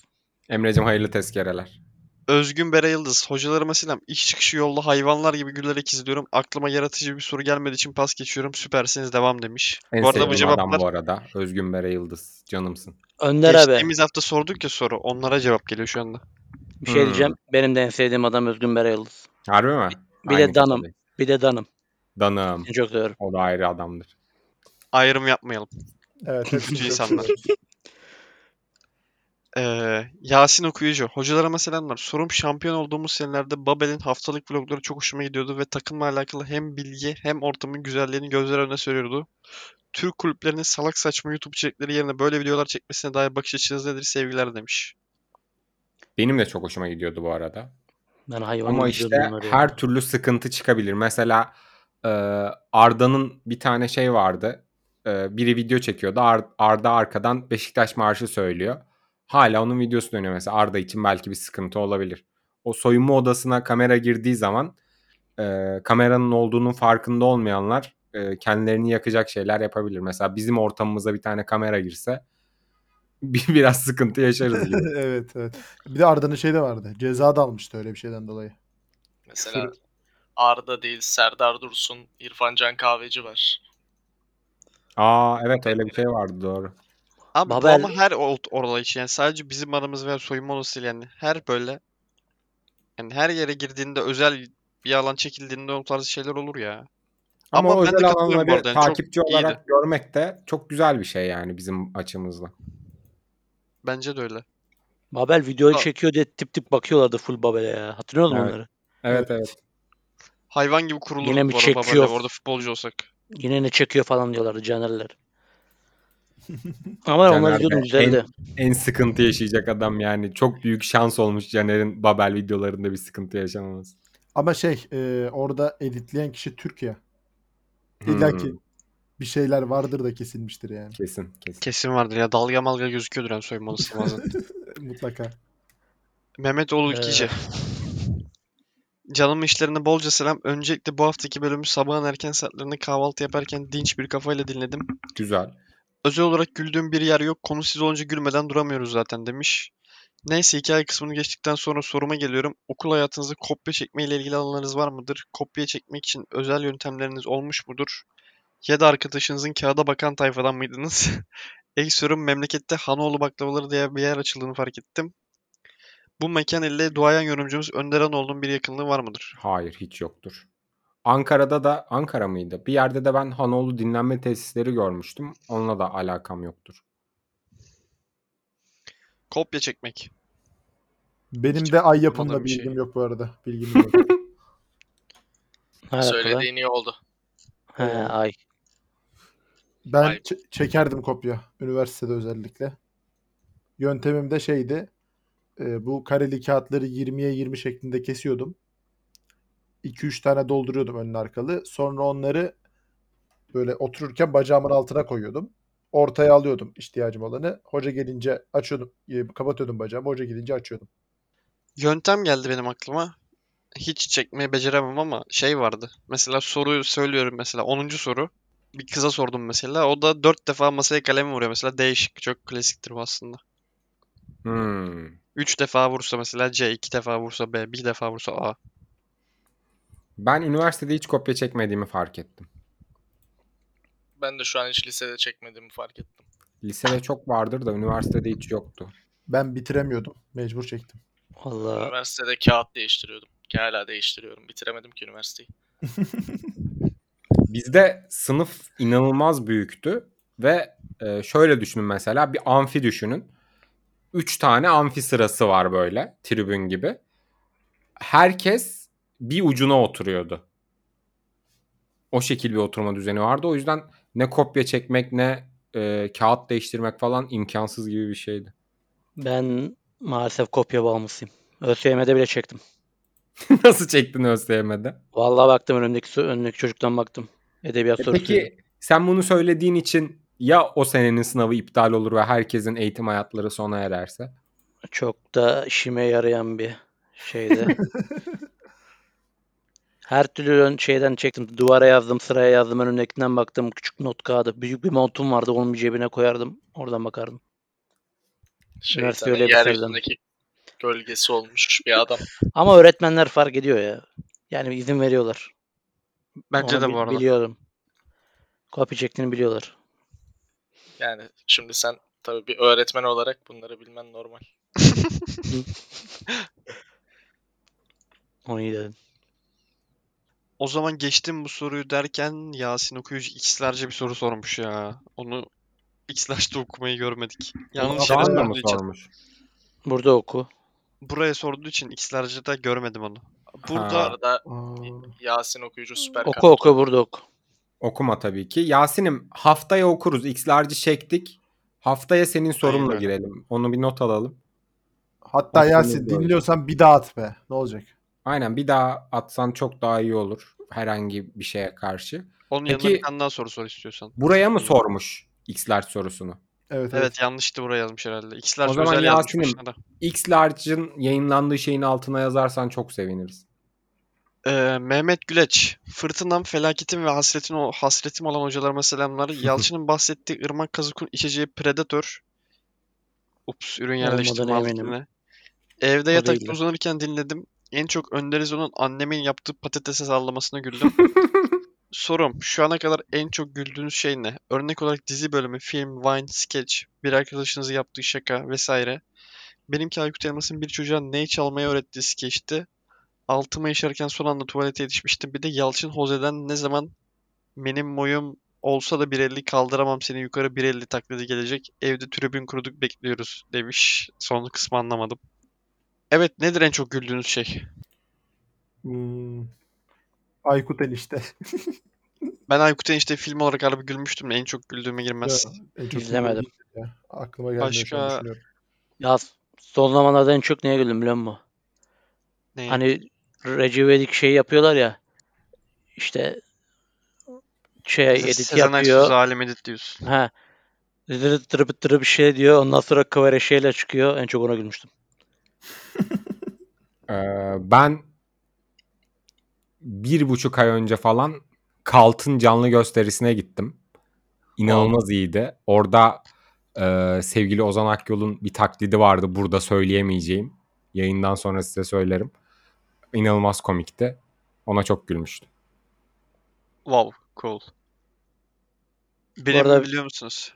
Speaker 4: Emre'cim hayırlı tezkereler.
Speaker 2: Özgün Bere Yıldız. Hocalarıma selam. İş çıkışı yolda hayvanlar gibi gülerek izliyorum. Aklıma yaratıcı bir soru gelmediği için pas geçiyorum. Süpersiniz devam demiş.
Speaker 4: En
Speaker 2: bu arada bu
Speaker 4: sevdiğim adam
Speaker 2: cevaplar
Speaker 4: bu arada. Özgün Bere Yıldız. Canımsın.
Speaker 6: Önder abi
Speaker 2: geçtiğimiz hafta sorduk ya soru. Onlara cevap geliyor şu anda.
Speaker 6: bir şey
Speaker 4: Hmm.
Speaker 6: diyeceğim. Benim de en sevdiğim adam Özgün Berayıldız.
Speaker 4: Harbi mi?
Speaker 6: Bir de
Speaker 4: Aynı
Speaker 6: Danım.
Speaker 4: kafadayız.
Speaker 6: Bir de Danım.
Speaker 4: Danım.
Speaker 6: Seni çok seviyorum.
Speaker 4: O da ayrı adamdır.
Speaker 2: Ayrım yapmayalım.
Speaker 3: Evet hepsini çok
Speaker 2: insanlar.
Speaker 3: seviyoruz.
Speaker 2: Ee, Yasin Okuyucu. Hocalarıma selamlar. Sorum şampiyon olduğumuz senelerde Babel'in haftalık vlogları çok hoşuma gidiyordu ve takımla alakalı hem bilgi hem ortamın güzelliğini gözler önüne seriyordu. Türk kulüplerinin salak saçma YouTube içerikleri yerine böyle videolar çekmesine dair bakış açınız nedir sevgiler demiş.
Speaker 4: Benim de çok hoşuma gidiyordu bu arada.
Speaker 6: Ben hayvan
Speaker 4: Ama
Speaker 6: gibi
Speaker 4: işte
Speaker 6: izliyordum bunları ya.
Speaker 4: her türlü sıkıntı çıkabilir. Mesela e, Arda'nın bir tane şey vardı. E, biri video çekiyordu. Ar- Arda arkadan Beşiktaş marşı söylüyor. Hala onun videosu dönüyor mesela. Arda için belki bir sıkıntı olabilir. O soyunma odasına kamera girdiği zaman e, kameranın olduğunun farkında olmayanlar e, kendilerini yakacak şeyler yapabilir. Mesela bizim ortamımıza bir tane kamera girse bir, biraz sıkıntı yaşarız gibi.
Speaker 3: evet evet. Bir de Arda'nın şey de vardı. Ceza da almıştı öyle bir şeyden dolayı.
Speaker 5: Mesela Arda değil Serdar Dursun, İrfan Can Kahveci var.
Speaker 4: Aa evet öyle bir şey vardı doğru.
Speaker 2: Abi bu
Speaker 6: Babel-
Speaker 2: ama her ol- orada için yani sadece bizim aramız veya soyunma odası değil yani her böyle yani her yere girdiğinde özel bir alan çekildiğinde o tarz şeyler olur ya.
Speaker 4: Ama,
Speaker 2: Ama
Speaker 4: o
Speaker 2: ben de
Speaker 4: özel
Speaker 2: katılıyorum bu
Speaker 4: alanları
Speaker 2: arada. Yani çok
Speaker 4: takipçi
Speaker 2: iyiydi.
Speaker 4: olarak görmek de çok güzel bir şey yani bizim açımızda.
Speaker 2: Bence de öyle.
Speaker 6: Babel videoyu
Speaker 2: Ha.
Speaker 6: çekiyor diye tip tip bakıyorlardı full Babel'e ya. Hatırlıyor musun
Speaker 4: Evet.
Speaker 6: onları?
Speaker 4: Evet evet.
Speaker 2: Hayvan gibi kurulurduk
Speaker 6: Yine mi
Speaker 2: bu arada
Speaker 6: çekiyor?
Speaker 2: Babel'le. Orada futbolcu olsak.
Speaker 6: Yine ne çekiyor falan diyorlardı Caner'ler. Ama onlar
Speaker 4: Caner
Speaker 6: izliyordum
Speaker 4: de
Speaker 6: güzeldi.
Speaker 4: En sıkıntı yaşayacak adam yani. Çok büyük şans olmuş Caner'in Babel videolarında bir sıkıntı yaşamaması.
Speaker 3: Ama şey e, orada editleyen kişi Türkiye. İlla
Speaker 4: Hmm,
Speaker 3: ki bir şeyler vardır da kesilmiştir yani.
Speaker 4: Kesin kesin.
Speaker 2: Kesin vardır ya. Dalga malga gözüküyordur yani soyunma odası bazen.
Speaker 3: Mutlaka.
Speaker 2: Mehmet Oğul İlkici. Canım işlerine bolca selam. Öncelikle bu haftaki bölümü sabahın erken saatlerinde kahvaltı yaparken dinç bir kafayla dinledim.
Speaker 4: Güzel.
Speaker 2: Özel olarak güldüğüm bir yer yok. Konu siz olunca gülmeden duramıyoruz zaten demiş. Neyse hikaye kısmını geçtikten sonra soruma geliyorum. Okul hayatınızda kopya çekme ile ilgili alanlarınız var mıdır? Kopya çekmek için özel yöntemleriniz olmuş mudur? Ya da arkadaşınızın kağıda bakan tayfadan mıydınız? Ek sorum memlekette Hanoğlu baklavaları diye bir yer açıldığını fark ettim. Bu mekan ile duayen yorumcumuz Önder Anoğlu'nun bir yakınlığı var mıdır?
Speaker 4: Hayır hiç yoktur. Ankara'da da Ankara mıydı? Bir yerde de ben Hanoğlu dinlenme tesisleri görmüştüm. Onunla da alakam yoktur.
Speaker 2: Kopya çekmek.
Speaker 3: Benim de ay yapımda
Speaker 2: Anlamadığım bir şey.
Speaker 3: bilgim yok bu arada. Bilgim yok.
Speaker 6: Ne alaka lan?
Speaker 5: Söylediğin iyi oldu.
Speaker 6: He,
Speaker 2: Ee,
Speaker 6: ay.
Speaker 3: Ben
Speaker 5: Ay.
Speaker 3: ç- çekerdim kopya. Üniversitede özellikle. Yöntemim de şeydi. e, bu kareli kağıtları 20'ye 20 şeklinde kesiyordum. 2-3 tane dolduruyordum önlü arkalı. Sonra onları böyle otururken bacağımın altına koyuyordum. Ortaya alıyordum ihtiyacım olanı. Hoca gelince açıyordum. e, Kapatıyordum bacağımı. Hoca gelince açıyordum.
Speaker 2: Yöntem geldi benim aklıma. Hiç çekmeyi beceremem ama şey vardı. Mesela soruyu söylüyorum mesela 10. soru. Bir kıza sordum mesela. O da 4 defa masaya kalemi vuruyor mesela. Değişik çok klasiktir bu aslında.
Speaker 4: Hmm.
Speaker 2: 3 defa vursa mesela C, 2 defa vursa B, 1 defa vursa A.
Speaker 4: Ben üniversitede hiç kopya çekmediğimi fark ettim.
Speaker 5: Ben de şu an hiç lisede çekmediğimi fark ettim.
Speaker 4: Lisede çok vardır da üniversitede hiç yoktu.
Speaker 3: Ben bitiremiyordum. Mecbur çektim.
Speaker 6: Valla
Speaker 5: Üniversitede kağıt değiştiriyordum. Ki hala değiştiriyorum. Bitiremedim ki üniversiteyi.
Speaker 4: Bizde sınıf inanılmaz büyüktü ve e, şöyle düşünün mesela bir amfi düşünün. Üç tane amfi sırası var böyle tribün gibi. Herkes bir ucuna oturuyordu. O şekil bir oturma düzeni vardı. O yüzden ne kopya çekmek ne e, kağıt değiştirmek falan imkansız gibi bir şeydi.
Speaker 6: ben maalesef kopya bağımlısıyım. ÖSYM'de bile çektim.
Speaker 4: Nasıl çektin ÖSYM'de?
Speaker 6: Vallahi baktım önümdeki so- önümdeki çocuktan baktım. Edebiyat
Speaker 4: E
Speaker 6: sorusu.
Speaker 4: Peki sen bunu söylediğin için ya o senenin sınavı iptal olur ve herkesin eğitim hayatları sona ererse?
Speaker 6: Çok da işime yarayan bir şeydi. Her türlü ön- şeyden çektim. Duvara yazdım, sıraya yazdım. Önümdekinden baktım. Küçük not kağıdı. Büyük bir montum vardı. Onun bir cebine koyardım. Oradan bakardım. Üniversite
Speaker 5: Şeytanın
Speaker 6: öyle bitirdim.
Speaker 5: Şey, yeryüzündeki gölgesi olmuş bir adam.
Speaker 6: Ama öğretmenler fark ediyor ya. Yani izin veriyorlar.
Speaker 2: Bence
Speaker 6: Onu
Speaker 2: de
Speaker 6: bi-
Speaker 2: bu arada.
Speaker 6: Biliyorum. Kopya çektiğini biliyorlar.
Speaker 5: Yani şimdi sen tabii bir öğretmen olarak bunları bilmen normal.
Speaker 6: Onu iyi dedin.
Speaker 2: O zaman geçtim bu soruyu derken Yasin okuyucu x'lerce bir soru sormuş ya. Onu x'lerce okumayı görmedik. Yanlış yere
Speaker 4: Doğan da mı
Speaker 2: sorduğu için.
Speaker 4: sormuş?
Speaker 6: Burada oku.
Speaker 2: Buraya sorduğu için x'lerce de görmedim onu.
Speaker 5: Bu
Speaker 2: Burada
Speaker 4: Ha.
Speaker 5: arada
Speaker 3: Aa.
Speaker 5: Yasin okuyucu süper
Speaker 6: Oku
Speaker 5: kahraman.
Speaker 6: oku burada oku.
Speaker 4: Okuma tabii ki. Yasin'im haftaya okuruz. X'larci çektik. Haftaya senin sorunla
Speaker 2: öyle.
Speaker 4: girelim. Onu bir not alalım.
Speaker 3: Hatta
Speaker 4: Aklımda
Speaker 3: Yasin
Speaker 4: böyle.
Speaker 3: dinliyorsan bir daha at be. Ne olacak?
Speaker 4: Aynen bir daha atsan çok daha iyi olur. Herhangi bir şeye karşı.
Speaker 2: Onun yanına bir
Speaker 4: Peki-
Speaker 2: tane daha soru sor istiyorsan.
Speaker 4: Buraya mı sormuş X'large sorusunu?
Speaker 3: Evet
Speaker 2: Evet,
Speaker 3: evet.
Speaker 2: yanlıştı buraya yazmış herhalde. X'ler
Speaker 4: O zaman
Speaker 2: özel yazmış
Speaker 4: Yasin'im-
Speaker 2: başına da.
Speaker 4: X'large'ın yayınlandığı şeyin altına yazarsan çok seviniriz.
Speaker 2: Ee, Mehmet Güleç. Fırtınam, felaketim ve hasretin o hasretim olan hocalarıma selamlar. Yalçın'ın bahsettiği ırmak kazıkun içeceği Predator. Ups, ürün yerleştirme
Speaker 6: Olmadan eminim.
Speaker 2: altına. Evde yatakta
Speaker 6: değildir.
Speaker 2: uzanırken dinledim. En çok Önder onun annemin yaptığı patatese sallamasına güldüm. Sorum, şu ana kadar en çok güldüğünüz şey ne? Örnek olarak dizi bölümü, film, Vine, sketch, bir arkadaşınızın yaptığı şaka vesaire. Benimki Aykut Elmas'ın bir çocuğa ney çalmayı öğrettiği skeçti. Altıma işerken son anda tuvalete yetişmiştim. Bir de Yalçın Hoze'den ne zaman benim boyum olsa da 1.50 kaldıramam seni yukarı 1.50 taklidi gelecek. Evde tribün kurduk bekliyoruz demiş. Son kısmı anlamadım. Evet nedir en çok güldüğünüz şey?
Speaker 3: Hmm. Aykut enişte.
Speaker 2: Ben Aykut Enişte film olarak harbi gülmüştüm de en çok güldüğüme girmez.
Speaker 3: En çok
Speaker 6: İzlemedim.
Speaker 3: güldüğüm ya. Aklıma gelmiyor şu an
Speaker 2: Başka-
Speaker 3: düşünüyorum.
Speaker 6: Ya son zamanlarda en çok neye güldüm biliyor musun?
Speaker 2: Ney?
Speaker 6: Hani Recep İvedik şey yapıyorlar ya. İşte şey
Speaker 2: Se-
Speaker 6: edit
Speaker 2: Sezen Aksu
Speaker 6: yapıyor.
Speaker 2: zalim edit diyorsun.
Speaker 6: Ha. Zırıt tırıp tırıp bir şey diyor. Ondan sonra kıvere şeyle çıkıyor. En çok ona gülmüştüm.
Speaker 4: Ee, ben bir buçuk ay önce falan Kalt'ın canlı gösterisine gittim. İnanılmaz iyiydi. Orada e, sevgili Ozan Akyol'un bir taklidi vardı. Burada söyleyemeyeceğim. Yayından sonra size söylerim. İnanılmaz komikti. Ona çok gülmüştüm.
Speaker 2: Wow, cool. Benim
Speaker 6: arada-
Speaker 2: biliyor musunuz?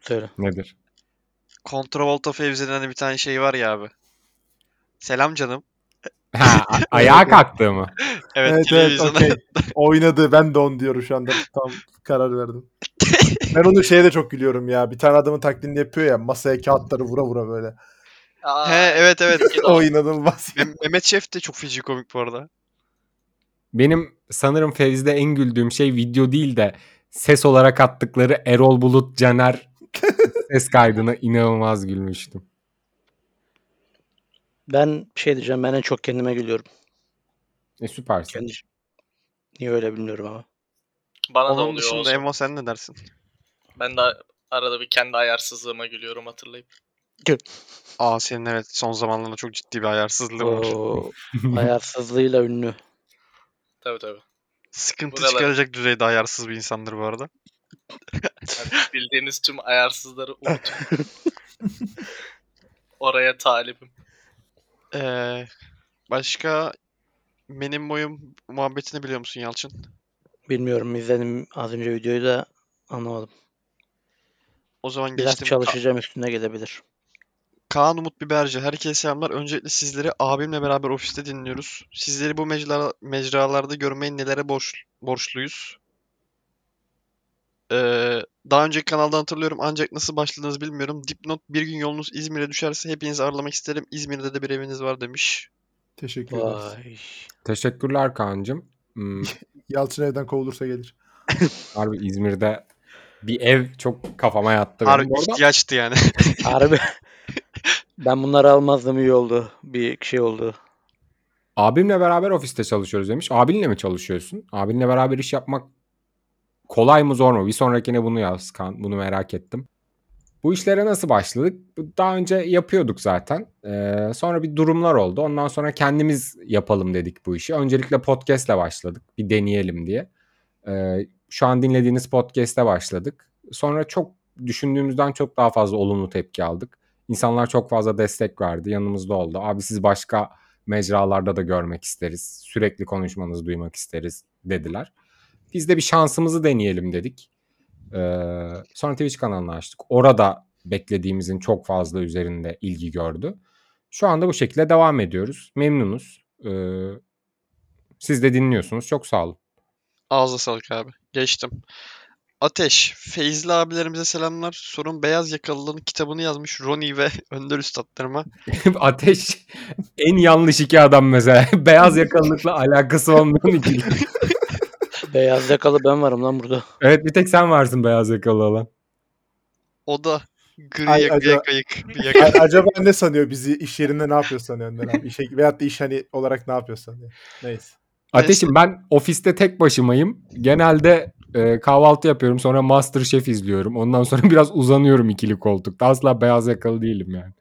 Speaker 6: Söyle.
Speaker 4: Nedir?
Speaker 2: Kontravolta Fevzi'nin hani bir tane şey var ya abi. Selam canım.
Speaker 4: Ha, a- ayağa kalktı mı?
Speaker 2: Evet,
Speaker 3: Evet evet
Speaker 2: televizyona.
Speaker 3: okey. Oynadı. Ben de on diyorum şu anda. Tam karar verdim. Ben onu şeye de çok gülüyorum ya. Bir tane adamın taklidini yapıyor ya. Masaya kağıtları vura vura böyle.
Speaker 5: Aa,
Speaker 2: He evet evet.
Speaker 3: o inanılmaz.
Speaker 2: Mem- Mehmet Şef de çok feci komik bu arada.
Speaker 4: Benim sanırım Fevzi'de en güldüğüm şey video değil de ses olarak attıkları Erol Bulut Caner ses kaydına inanılmaz gülmüştüm.
Speaker 6: Ben şey diyeceğim. Ben en çok kendime gülüyorum.
Speaker 4: E süpersin.
Speaker 6: Kendi... Niye öyle bilmiyorum ama.
Speaker 5: Bana da
Speaker 2: Onun
Speaker 5: oluyor
Speaker 2: dışında
Speaker 5: olsun.
Speaker 2: Emo sen ne dersin?
Speaker 5: Ben de arada bir kendi ayarsızlığıma gülüyorum hatırlayıp.
Speaker 2: Aa senin evet son zamanlarda çok ciddi bir ayarsızlığın var.
Speaker 6: O ayarsızlığıyla ünlü.
Speaker 5: Tabii tabii.
Speaker 2: Sıkıntı
Speaker 5: Buralar-
Speaker 2: çıkaracak düzeyde ayarsız bir insandır bu arada.
Speaker 5: Yani bildiğiniz tüm ayarsızları unutun. Oraya talibim.
Speaker 2: Ee, başka benim boyum muhabbetini biliyor musun Yalçın?
Speaker 6: Bilmiyorum. izledim az önce videoyu da anlamadım.
Speaker 2: O zaman
Speaker 6: Biraz
Speaker 2: geçtim. Ka-
Speaker 6: çalışacağım üstüne gelebilir.
Speaker 2: Kaan Umut Biberci. Herkese selamlar. Öncelikle sizleri abimle beraber ofiste dinliyoruz. Sizleri bu mecra mecralarda görmeyi nelere borç borçluyuz? Ee, daha önceki kanalda hatırlıyorum ancak nasıl başladığınızı bilmiyorum. Dipnot bir gün yolunuz İzmir'e düşerse hepinizi ağırlamak isterim. İzmir'de de bir eviniz var demiş.
Speaker 3: Teşekkür ederiz.
Speaker 6: Vay.
Speaker 4: Teşekkürler Kaan'cığım. Hmm,
Speaker 3: Yalçın evden kovulursa gelir.
Speaker 4: harbi İzmir'de bir ev çok kafama yattı benim.
Speaker 2: Harbi
Speaker 4: Bu arada
Speaker 2: ihtiyaçtı yani.
Speaker 6: Harbi. ben bunları almazdım iyi oldu. Bir şey oldu.
Speaker 4: abimle beraber ofiste çalışıyoruz demiş. Abinle mi çalışıyorsun? Abinle beraber iş yapmak kolay mı zor mu? Bir sonrakine bunu yaz Kaan. Bunu merak ettim. Bu işlere nasıl başladık? Bu- Daha önce yapıyorduk zaten. Ee, sonra bir durumlar oldu. Ondan sonra kendimiz yapalım dedik bu işi. Öncelikle podcastle başladık. Bir deneyelim diye. Ee, şu an dinlediğiniz podcastle başladık. Sonra çok düşündüğümüzden çok daha fazla olumlu tepki aldık. İnsanlar çok fazla destek verdi. Yanımızda oldu. Abi siz başka mecralarda da görmek isteriz. Sürekli konuşmanızı duymak isteriz dediler. Biz de bir şansımızı deneyelim dedik. Ee, sonra Twitch kanalını açtık. Orada beklediğimizin çok fazla üzerinde ilgi gördü. Şu anda bu şekilde devam ediyoruz. Memnunuz. Ee, siz de dinliyorsunuz. Çok sağ olun.
Speaker 2: Ağzına sağlık abi. Geçtim. Ateş. Feyzli abilerimize selamlar. Sorun Beyaz Yakalılığın kitabını yazmış Roni ve Önder Üstadlarıma.
Speaker 4: Ateş en yanlış iki adam mesela. Beyaz yakalılıkla alakası olmayan ikili.
Speaker 6: Beyaz yakalı ben varım lan burada.
Speaker 4: Evet bir tek sen varsın beyaz yakalı olan.
Speaker 2: O da gri
Speaker 3: Ay,
Speaker 2: yak-
Speaker 3: acaba-
Speaker 2: yak- ayık bir yaka.
Speaker 3: A- Acaba ne sanıyor bizi iş yerinde ne yapıyor sanıyor Önder abi? İşe, veyahut da iş hani olarak ne yapıyor sanıyor. Neyse.
Speaker 4: Ateşim ben ofiste tek başımayım. Genelde e, kahvaltı yapıyorum sonra Master Chef izliyorum. Ondan sonra biraz uzanıyorum ikili koltukta. Asla beyaz yakalı değilim yani.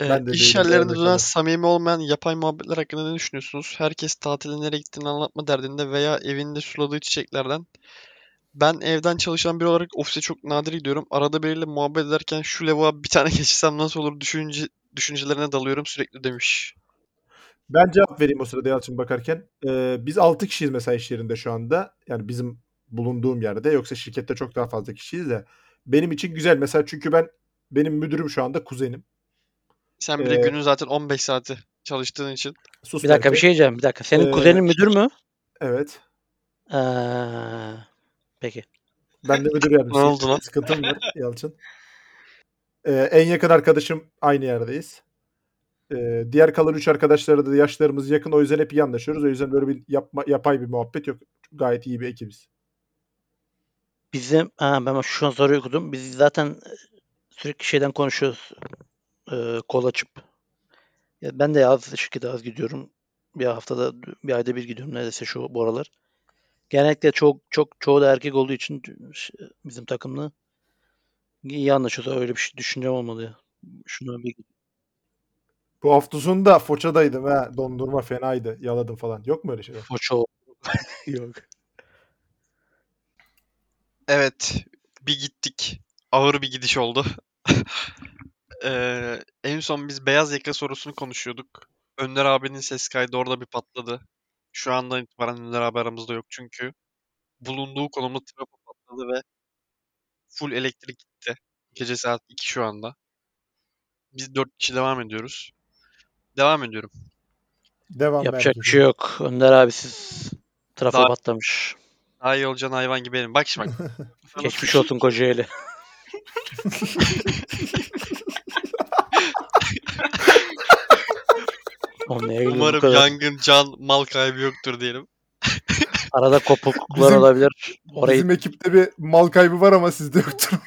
Speaker 2: Ee,
Speaker 7: Ben de
Speaker 2: iş
Speaker 7: değilim,
Speaker 2: yerlerinde
Speaker 7: nerede
Speaker 2: dönen
Speaker 7: kalır?
Speaker 2: samimi olmayan yapay muhabbetler hakkında ne düşünüyorsunuz? Herkes tatile nereye gittiğini anlatma derdinde veya evinde suladığı çiçeklerden. Ben evden çalışan biri olarak ofise çok nadir gidiyorum. Arada biriyle muhabbet ederken şu lavuğa bir tane geçsem nasıl olur düşünce, düşüncelerine dalıyorum sürekli demiş.
Speaker 3: Ben cevap vereyim o sırada Yalçın bakarken. Ee, biz 6 kişiyiz mesela iş yerinde şu anda. Yani bizim bulunduğum yerde. Yoksa şirkette çok daha fazla kişiyiz de. Benim için güzel mesela çünkü ben benim müdürüm şu anda kuzenim.
Speaker 2: Sen bir de
Speaker 3: Ee,
Speaker 2: günün zaten 15 saati çalıştığın için
Speaker 3: Sus
Speaker 6: Bir dakika
Speaker 3: Berke.
Speaker 6: bir şey diyeceğim. Bir dakika. Senin
Speaker 3: Ee,
Speaker 6: kuzenin müdür mü?
Speaker 3: Evet.
Speaker 6: Ee, peki.
Speaker 3: Ben de müdür yardımcısıyım.
Speaker 2: oldu lan?
Speaker 3: Sıkıntım var Yalçın. Ee, en yakın arkadaşım aynı yerdeyiz. Ee, diğer kalan üç arkadaşlara da yaşlarımız yakın. O yüzden hep iyi anlaşıyoruz. O yüzden böyle bir yapma, yapay bir muhabbet yok. Gayet iyi bir ekibiz.
Speaker 6: Bizim ha, ben şu an soruyu okudum. Biz zaten e, sürekli şeyden konuşuyoruz. Ee, kol açıp. Ya ben de az şirkete az gidiyorum. Bir haftada bir ayda bir gidiyorum neredeyse şu bu aralar. Genellikle çok çok çoğu da erkek olduğu için ş- bizim takımla iyi anlaşıyoruz. Öyle bir şey düşüncem olmadı ya. Şunu bir
Speaker 3: Bu hafta sonu da Foça'daydım ha. Dondurma fenaydı. Yaladım falan. Yok mu öyle şeyler?
Speaker 6: foço yok.
Speaker 2: Evet, bir gittik. Ağır bir gidiş oldu. Ee, en son biz beyaz yaka sorusunu konuşuyorduk. Önder abinin ses kaydı orada bir patladı. Şu andan itibaren Önder abi aramızda yok çünkü. Bulunduğu konumda trafo patladı ve full elektrik gitti. Gece saat 2 şu anda. Biz 4 kişi devam ediyoruz. Devam ediyorum.
Speaker 3: Devam
Speaker 6: Yapacak
Speaker 3: Berke'cim.
Speaker 6: bir şey yok. Önder abisiz trafo
Speaker 2: Daha-
Speaker 6: patlamış.
Speaker 2: Daha iyi olacağını hayvan gibi benim. Bak şimdi bak. Sana
Speaker 6: Geçmiş olsun Kocaeli. Oğlum ne eğildi bu
Speaker 2: Umarım
Speaker 6: kadar?
Speaker 2: yangın, can, mal kaybı yoktur diyelim.
Speaker 6: Arada kopukluklar
Speaker 3: Bizim-
Speaker 6: olabilir. Orayı
Speaker 3: Bizim ekipte bir mal kaybı var ama sizde yoktur.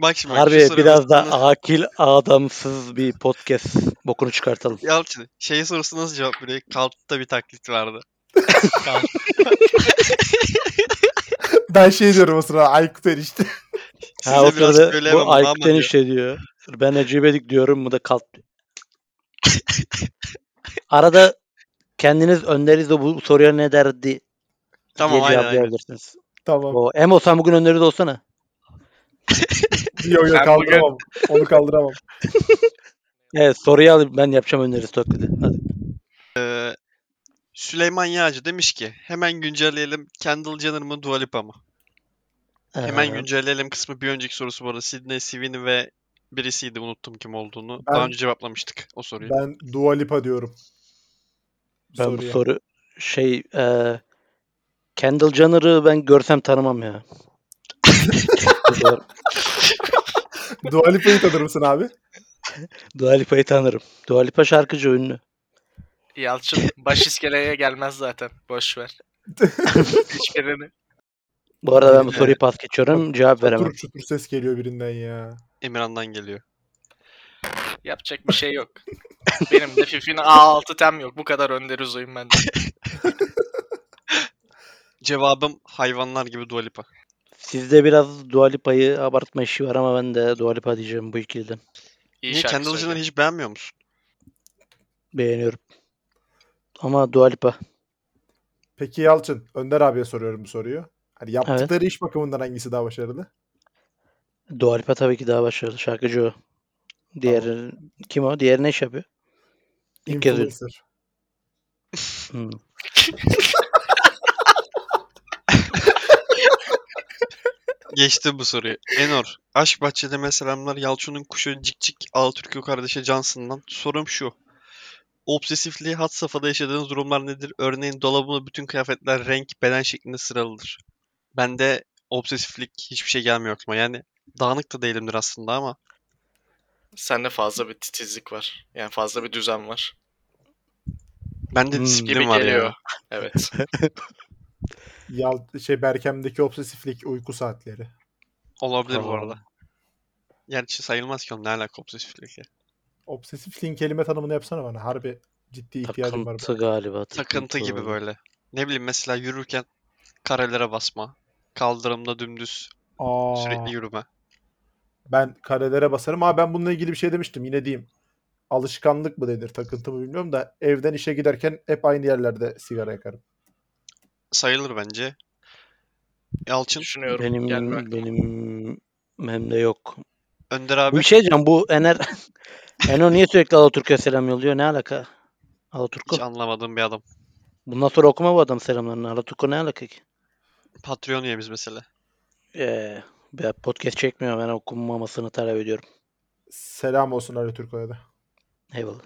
Speaker 2: Bak şimdi bak. şu
Speaker 6: harbi
Speaker 2: soruya
Speaker 6: biraz da
Speaker 2: nasıl-
Speaker 6: akil adamsız bir podcast bokunu çıkartalım.
Speaker 2: Yalçın şey sorusu nasıl cevap veriyor? Kaltta bir taklit vardı.
Speaker 3: ben şey diyorum o sırada Aykut enişte.
Speaker 2: Size
Speaker 6: Ha o
Speaker 2: biraz
Speaker 6: sırada
Speaker 2: söyleyemem
Speaker 6: bu
Speaker 2: bunu ama
Speaker 6: Aykut'en
Speaker 2: diyor.
Speaker 6: işte diyor. Ben Ecebedik diyorum bu da kalk. Arada kendiniz önderiz de bu soruya ne derdi
Speaker 2: Tamam
Speaker 6: diye
Speaker 2: aynen aynen.
Speaker 6: cevaplayabilirsiniz.
Speaker 3: Tamam.
Speaker 6: O Emo sen bugün önderiz olsana.
Speaker 3: Yok yok
Speaker 8: Ben bugün-
Speaker 3: kaldıramam. Onu kaldıramam.
Speaker 6: Evet soruyu alıp ben yapacağım önderiz taklidi. Hadi.
Speaker 2: Ee, Süleyman Yağcı demiş ki hemen güncelleyelim Kendall Jenner mı Dua Lipa mı? Hemen
Speaker 6: Ee,
Speaker 2: güncelleyelim kısmı bir önceki sorusu bu arada. Sidney Sweeney ve birisiydi unuttum kim olduğunu. Daha
Speaker 3: Ben-
Speaker 2: önce cevaplamıştık o soruyu.
Speaker 3: Ben Dua Lipa diyorum.
Speaker 6: Ben
Speaker 3: Soruya.
Speaker 6: bu soru şey eee Kendall Jenner'ı ben görsem tanımam ya. Bu kadar.
Speaker 3: Dua Lipa'yı tanır mısın abi?
Speaker 6: Dua Lipa'yı tanırım. Dua Lipa şarkıcı ünlü.
Speaker 5: Yalçın baş iskeleye gelmez zaten. Boş ver. Hiçbirini.
Speaker 6: Bu arada ben bu
Speaker 3: Aynen.
Speaker 6: soruyu pas geçiyorum. Cevap veremem.
Speaker 3: Çutur çutur ses geliyor birinden ya.
Speaker 2: Emirhan'dan geliyor.
Speaker 5: Yapacak bir şey yok. Benim de Fifi'nin A6 tem yok. Bu kadar önder uzayım ben de.
Speaker 2: Cevabım hayvanlar gibi Dua Lipa.
Speaker 6: Sizde biraz Dua Lipa'yı abartma işi var ama ben de Dua Lipa diyeceğim bu ikiliden.
Speaker 5: İyi
Speaker 2: Niye
Speaker 5: şarkı
Speaker 2: Kendall Jenner'ı
Speaker 5: söylüyor.
Speaker 2: hiç beğenmiyor musun?
Speaker 6: Beğeniyorum. Ama Dua Lipa.
Speaker 3: Peki Yalçın, Önder abiye soruyorum bu soruyu. Hani yaptıkları iş bakımından hangisi daha başarılı?
Speaker 6: Dua Lipa tabii ki daha başarılı. Şarkıcı o. Diğeri kim o? Diğeri ne iş yapıyor? İlk kez duydum.
Speaker 3: Influencer.
Speaker 6: Hmm.
Speaker 2: Geçti bu soruyu. Enor. Aşk Bahçeli'me selamlar. Yalçın'ın kuşu cik cik Altürk'ü kardeşi Johnson'dan. Sorum şu. Obsesifliği had safhada yaşadığınız durumlar nedir? Örneğin dolabımda bütün kıyafetler renk, beden şeklinde sıralıdır. Bende obsesiflik hiçbir şey gelmiyor aklıma. Yani dağınık da değilimdir aslında ama
Speaker 5: Sende fazla bir titizlik var. Yani fazla bir düzen var.
Speaker 2: bende
Speaker 6: Hmm.
Speaker 2: disiplin
Speaker 5: Gibi
Speaker 2: var
Speaker 5: geliyor.
Speaker 2: ya.
Speaker 5: Evet.
Speaker 3: Yal şey Berkem'deki obsesiflik uyku saatleri.
Speaker 2: Olabilir bu
Speaker 6: Aa.
Speaker 2: arada. Gerçi sayılmaz ki onun ne alaka obsesiflikle.
Speaker 3: Obsesifliğin kelime tanımını yapsana bana. Harbi ciddi ihtiyacım var.
Speaker 6: Takıntı galiba.
Speaker 2: Takıntı gibi
Speaker 6: olabilir.
Speaker 2: böyle. Ne bileyim mesela yürürken karelere basma. Kaldırımda dümdüz
Speaker 3: Aa,
Speaker 2: sürekli yürüme.
Speaker 3: ben karelere basarım. Ha ben bununla ilgili bir şey demiştim. Yine diyeyim. Alışkanlık mı denir, takıntı mı bilmiyorum da evden işe giderken hep aynı yerlerde sigara yakarım.
Speaker 2: Sayılır bence. Yalçın,
Speaker 5: Düşünüyorum.
Speaker 6: Benim
Speaker 5: gelme aklıma.
Speaker 6: benim hem de yok.
Speaker 2: Önder
Speaker 6: Bu
Speaker 2: abi.
Speaker 6: bir şey diyeceğim bu Ener Eno niye sürekli Alaturk'a selam yolluyor? Ne alaka? Alaturk'u.
Speaker 2: Hiç anlamadığım bir adam.
Speaker 6: Bundan sonra okuma bu adam selamlarını. Alaturk'u ne alaka ki?
Speaker 2: Patreon üyemiz mesela.
Speaker 6: Ee, ben podcast çekmiyorum. Ben okunmamasını talep ediyorum.
Speaker 3: Selam olsun Ali Türkoy'a da.
Speaker 6: Eyvallah.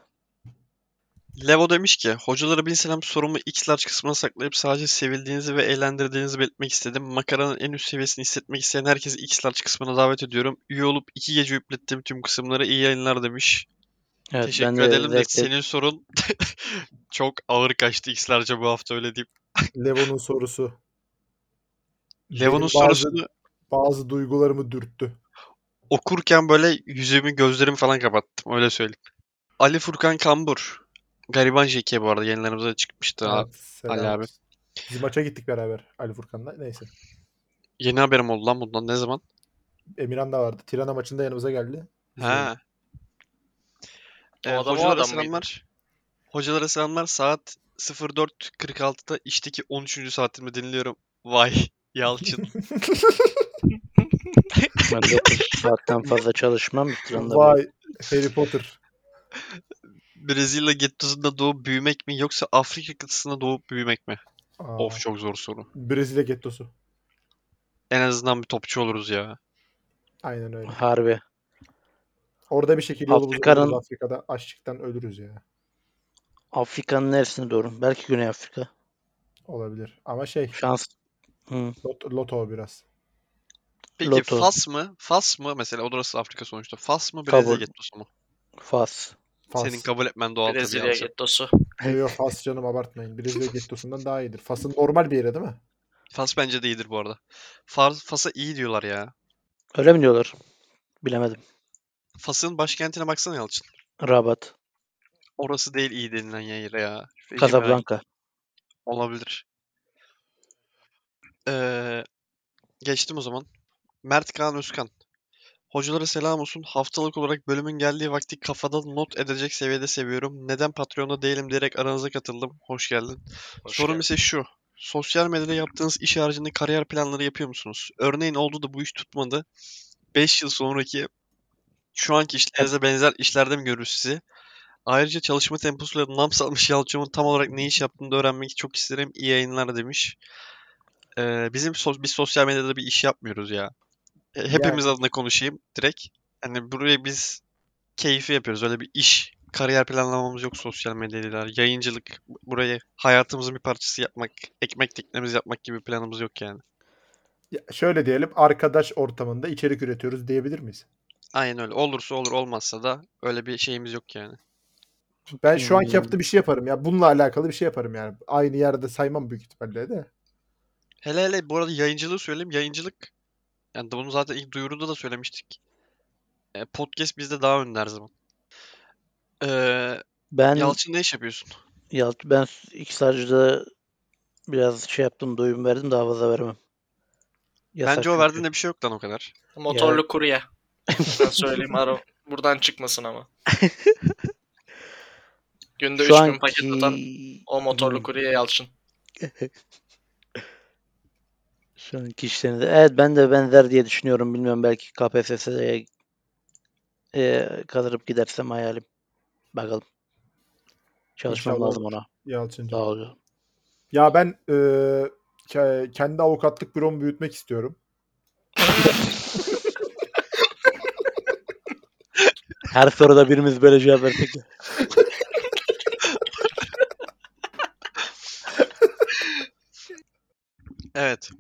Speaker 2: Levo demiş ki, hocalara bin selam sorumu X large kısmına saklayıp sadece sevildiğinizi ve eğlendirdiğinizi belirtmek istedim. Makaranın en üst seviyesini hissetmek isteyen herkesi X large kısmına davet ediyorum. Üye olup iki gece üplettiğim tüm kısımları iyi yayınlar demiş.
Speaker 6: Evet,
Speaker 2: Teşekkür
Speaker 6: ben de
Speaker 2: edelim de
Speaker 6: zevkle-
Speaker 2: senin sorun çok ağır kaçtı X large'a bu hafta öyle deyip.
Speaker 3: Levo'nun sorusu.
Speaker 2: Levo'nun
Speaker 3: Benim bazı-
Speaker 2: sorusunu
Speaker 3: Bazı duygularımı dürttü.
Speaker 2: okurken böyle yüzümü gözlerimi falan kapattım öyle söyleyeyim. Ali Furkan Kambur. Gariban JK bu arada yayınlarımıza çıkmıştı.
Speaker 3: Evet, selam
Speaker 2: Ali abi.
Speaker 3: olsun. Biz maça gittik beraber Ali Furkan'la. Neyse.
Speaker 2: Yeni haberim oldu lan bundan ne zaman?
Speaker 3: Emirhan da vardı. Tirana maçında yanımıza geldi.
Speaker 2: Ha.
Speaker 5: O
Speaker 2: Ee,
Speaker 5: adam o
Speaker 2: hocalara
Speaker 5: adam mıydı?
Speaker 2: selamlar. Hocalara selamlar. Saat 04.46'da işteki 13. saatimi dinliyorum. Vay Yalçın.
Speaker 6: Ben 9 saatten fazla çalışmam. Bitiranda
Speaker 3: Vay Harry Potter.
Speaker 2: Brezilya gettosunda doğup büyümek mi yoksa Afrika kıtasında doğup büyümek mi?
Speaker 3: Aa,
Speaker 2: Of çok zor soru.
Speaker 3: Brezilya gettosu.
Speaker 2: En azından bir topçu oluruz ya.
Speaker 3: Aynen öyle.
Speaker 6: Harbi.
Speaker 3: Orada bir şekilde yolumuz
Speaker 6: Afrika'nın-
Speaker 3: oluruz. Afrika'da açlıktan ölürüz ya.
Speaker 6: Afrika'nın neresine doğru? Belki Güney Afrika.
Speaker 3: Olabilir. Ama şey
Speaker 6: Şans. Hı.
Speaker 3: lot, loto biraz.
Speaker 2: Peki
Speaker 6: Loto.
Speaker 2: Fas mı? Fas mı? Mesela orası Afrika sonuçta. Fas mı Brezilya
Speaker 6: Kabul.
Speaker 2: gettosu mu?
Speaker 6: Fas.
Speaker 3: Fas.
Speaker 2: Senin kabul etmen doğal tabii
Speaker 5: Brezilya
Speaker 2: Yalçın.
Speaker 5: gettosu.
Speaker 3: Yo, yo, Fas canım abartmayın. Brezilya gettosundan daha iyidir. Fas'ın normal bir yeri değil mi?
Speaker 2: Fas bence de iyidir bu arada. Fas, Fas'a iyi diyorlar ya.
Speaker 6: Öyle mi diyorlar? Bilemedim.
Speaker 2: Fas'ın başkentine baksana Yalçın.
Speaker 6: Rabat.
Speaker 2: Orası değil iyi denilen yer ya. Şurayı kim merak
Speaker 6: Casablanca.
Speaker 2: Olabilir. Ee, geçtim o zaman. Mert Kaan Özkan. Hocalara selam olsun. Haftalık olarak bölümün geldiği vakti kafada not edecek seviyede seviyorum. Neden Patreon'da değilim diyerek aranıza katıldım. Hoş geldin.
Speaker 5: Hoş
Speaker 2: Sorum
Speaker 5: geldin.
Speaker 2: ise şu. Sosyal medyada yaptığınız iş haricinde kariyer planları yapıyor musunuz? Örneğin oldu da bu iş tutmadı. 5 yıl sonraki şu anki işlerinize benzer işlerde mi görürüz sizi? Ayrıca çalışma temposuyla nam salmış Yalçın'ın tam olarak ne iş yaptığını da öğrenmek çok isterim. İyi yayınlar demiş. Ee, bizim sos- biz sosyal medyada bir iş yapmıyoruz ya. E, Hepimiz adına konuşayım direkt. Hani buraya biz keyfi yapıyoruz. Öyle bir iş, kariyer planlamamız yok sosyal medyada. Yayıncılık, bu- burayı hayatımızın bir parçası yapmak, ekmek teknemiz yapmak gibi planımız yok yani.
Speaker 3: Ya şöyle diyelim arkadaş ortamında içerik üretiyoruz diyebilir miyiz?
Speaker 2: Aynen öyle. Olursa olur, olmazsa da öyle bir şeyimiz yok yani.
Speaker 3: Ben şu anki
Speaker 6: Hmm.
Speaker 3: yaptığı bir şey yaparım ya. Bununla alakalı bir şey yaparım yani. Aynı yerde saymam büyük ihtimalle de.
Speaker 2: Hele hele bu arada yayıncılığı söyleyeyim. Yayıncılık yani bunu zaten ilk duyuruda da söylemiştik. E, podcast bizde daha önde her zaman. Ee,
Speaker 6: Ben
Speaker 2: Yalçın ne iş yapıyorsun?
Speaker 6: Yalt ben iki sarcıda biraz şey yaptım, duyum verdim daha fazla veremem. Yasak
Speaker 2: Bence o
Speaker 6: çünkü.
Speaker 2: verdiğinde bir şey yok lan o kadar.
Speaker 5: Motorlu kurye. Buradan söyleyeyim ara. Buradan çıkmasın ama. Günde
Speaker 6: Şu
Speaker 5: 3000 paket atan
Speaker 6: anki-
Speaker 5: o motorlu
Speaker 6: Hmm.
Speaker 5: kurye Yalçın.
Speaker 6: Şu anki işlerinde. Evet ben de benzer diye düşünüyorum. Bilmiyorum belki KPSS'ye e, kazanıp gidersem hayalim. Bakalım. Çalışmam
Speaker 3: İnşallah
Speaker 6: lazım ona.
Speaker 3: Yalçınca.
Speaker 6: Daha uzun.
Speaker 3: Ya ben e, ke- kendi avukatlık büromu büyütmek istiyorum.
Speaker 6: Her soruda birimiz böyle cevap versek de.
Speaker 2: Evet.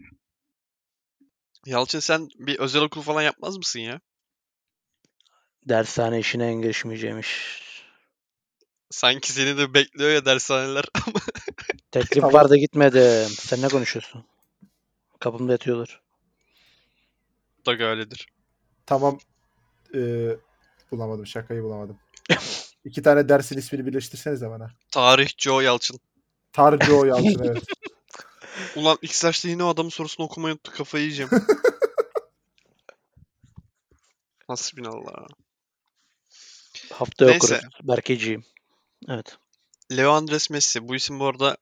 Speaker 2: Yalçın sen bir özel okul falan yapmaz mısın ya?
Speaker 6: Dershane işine girişmeyeceğim iş.
Speaker 2: Sanki seni de bekliyor ya dershaneler.
Speaker 6: Teklif
Speaker 3: Tamam.
Speaker 6: var da gitmedim. Sen ne konuşuyorsun? Kapımda yatıyorlar.
Speaker 2: da öyledir.
Speaker 3: Tamam. E, bulamadım şakayı bulamadım. İki tane dersin ismini birleştirseniz de bana.
Speaker 2: Tarihçi o Yalçın.
Speaker 3: Tarco Yalçın evet.
Speaker 2: Ulan ilk saçta yine o adamın sorusunu okumayı unuttuk. Kafayı yiyeceğim. Hasbinallah.
Speaker 6: Hafta
Speaker 2: Neyse.
Speaker 6: okuruz. Berkeciyim. Evet.
Speaker 2: Leo Andres Messi. Bu isim bu arada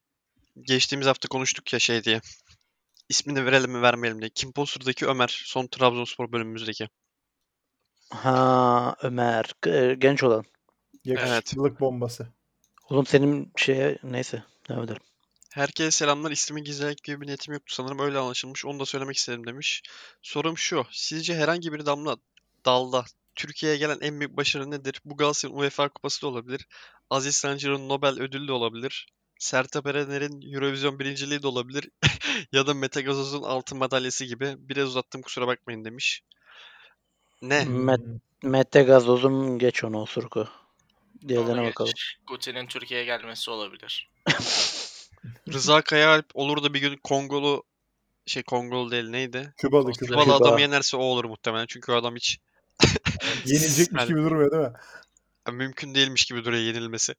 Speaker 2: geçtiğimiz hafta konuştuk ya şey diye. İsmini verelim mi vermeyelim diye. Kim Poster'daki Ömer. Son Trabzonspor bölümümüzdeki.
Speaker 6: Ha Ömer. K- e, Genç olan.
Speaker 3: Yakışıklılık bombası.
Speaker 6: Oğlum senin şeye neyse. Devam edelim.
Speaker 2: Herkese selamlar. İsmimi gizlemek gibi bir niyetim yoktu sanırım. Öyle anlaşılmış. Onu da söylemek istedim demiş. Sorum şu. Sizce herhangi bir damla dalda Türkiye'ye gelen en büyük başarı nedir? Bu Galatasaray'ın UEFA Kupası da olabilir. Aziz Sancar'ın Nobel ödülü de olabilir. Sertab Erener'in Eurovision birinciliği de olabilir. ya da Mete Gazoz'un altın madalyası gibi. Biraz uzattım kusura bakmayın demiş. Ne?
Speaker 3: Hmm.
Speaker 6: Met- Mete Gazoz'um geç onu osurku.
Speaker 5: Ona
Speaker 6: Diğerlerine
Speaker 5: geç.
Speaker 6: bakalım.
Speaker 5: Guti'nin Türkiye'ye gelmesi olabilir.
Speaker 2: Rıza Kayaalp olur da bir gün Kongolu şey Kongolu değil neydi?
Speaker 3: Kübalı Küba.
Speaker 2: Kübalı adamı yenerse o olur muhtemelen. Çünkü o adam hiç
Speaker 3: Yenilecekmiş
Speaker 2: Yani-
Speaker 3: gibi durmuyor değil mi?
Speaker 2: Ya Mümkün değilmiş gibi duruyor yenilmesi.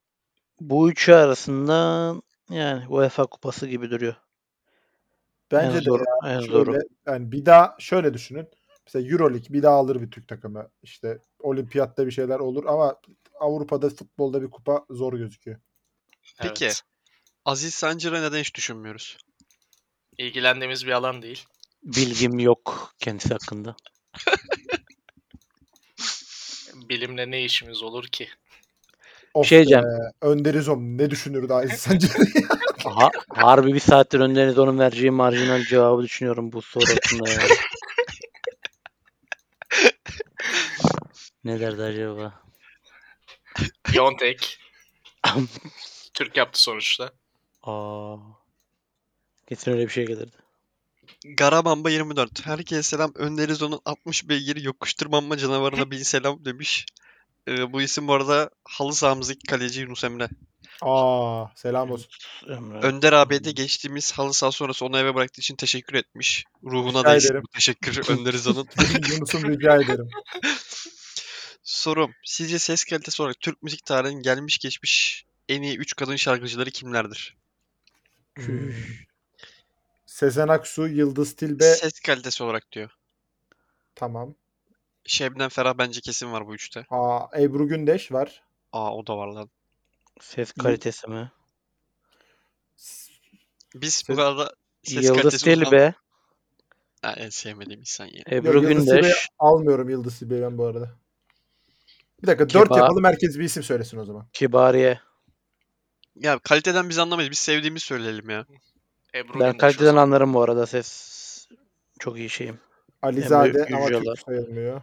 Speaker 6: Bu üçü arasında yani UEFA kupası gibi duruyor.
Speaker 3: Bence de
Speaker 6: en zor, en zoru.
Speaker 3: Şöyle, yani bir daha şöyle düşünün. Mesela Euroleague bir daha alır bir Türk takımı. İşte olimpiyatta bir şeyler olur ama Avrupa'da futbolda bir kupa zor gözüküyor.
Speaker 2: Peki.
Speaker 5: Evet.
Speaker 2: Aziz Sancar'ı neden hiç düşünmüyoruz?
Speaker 5: İlgilendiğimiz bir alan değil.
Speaker 6: Bilgim yok kendisi hakkında.
Speaker 5: Bilimle ne işimiz olur ki?
Speaker 3: Of
Speaker 6: Şey diyeceğim.
Speaker 3: be, Önder İzom ne düşünürdü Aziz Sancar?
Speaker 6: Ha, harbi bir saattir önleriniz onun vereceği marjinal cevabı düşünüyorum bu soru hakkında ya. ne derdi acaba?
Speaker 5: Yontek. Türk yaptı sonuçta.
Speaker 6: Aa. Kesin öyle bir şey gelirdi.
Speaker 2: Garabamba 24. Herkese selam. Önder İzo'nun 60 beygiri yokuşturmanma canavarına bin selam demiş. Ee, bu isim bu arada halı sahamızdaki kaleci Yunus Emre.
Speaker 3: Aa selam olsun.
Speaker 6: Ömre.
Speaker 2: Önder abiye de geçtiğimiz halı saha sonrası onu eve bıraktığı için teşekkür etmiş. Ruhuna
Speaker 3: Rica
Speaker 2: da eksik
Speaker 3: ederim.
Speaker 2: bu teşekkür Önder İzo'nun.
Speaker 3: Yunus'um rica ederim.
Speaker 2: Sorum. Sizce ses kalitesi olarak Türk müzik tarihinin gelmiş geçmiş en iyi 3 kadın şarkıcıları kimlerdir?
Speaker 3: Hmm. Sezen Aksu, Yıldız Tilbe
Speaker 2: Ses kalitesi olarak diyor.
Speaker 3: tamam.
Speaker 2: Şebnem Ferah bence kesin var bu üçte.
Speaker 3: Aa, Ebru Gündeş var.
Speaker 2: Aa o da var lan.
Speaker 6: Ses kalitesi mi?
Speaker 3: S-
Speaker 2: Biz
Speaker 3: Ses-
Speaker 2: bu arada ses
Speaker 6: Yıldız
Speaker 2: kalitesi uzman-
Speaker 6: Tilbe,
Speaker 2: Ha, en sevmediğim insan ya.
Speaker 6: Ebru
Speaker 3: Yok, Yıldız Tilbe'yi
Speaker 6: Gündeş,
Speaker 3: almıyorum Yıldız Tilbe'yi ben bu arada. Bir dakika dört
Speaker 6: Kibar.
Speaker 3: yapalım herkes bir isim söylesin o zaman.
Speaker 6: Kibariye.
Speaker 2: Ya kaliteden biz anlamayız. Biz sevdiğimizi söyleyelim ya.
Speaker 5: Ebru
Speaker 6: Ben
Speaker 5: Gündeş
Speaker 6: kaliteden
Speaker 5: olsun.
Speaker 6: anlarım bu arada ses. Çok iyi şeyim.
Speaker 3: Alizade
Speaker 6: Emre
Speaker 3: ama
Speaker 6: Yüceler.
Speaker 3: Türk sayılmıyor.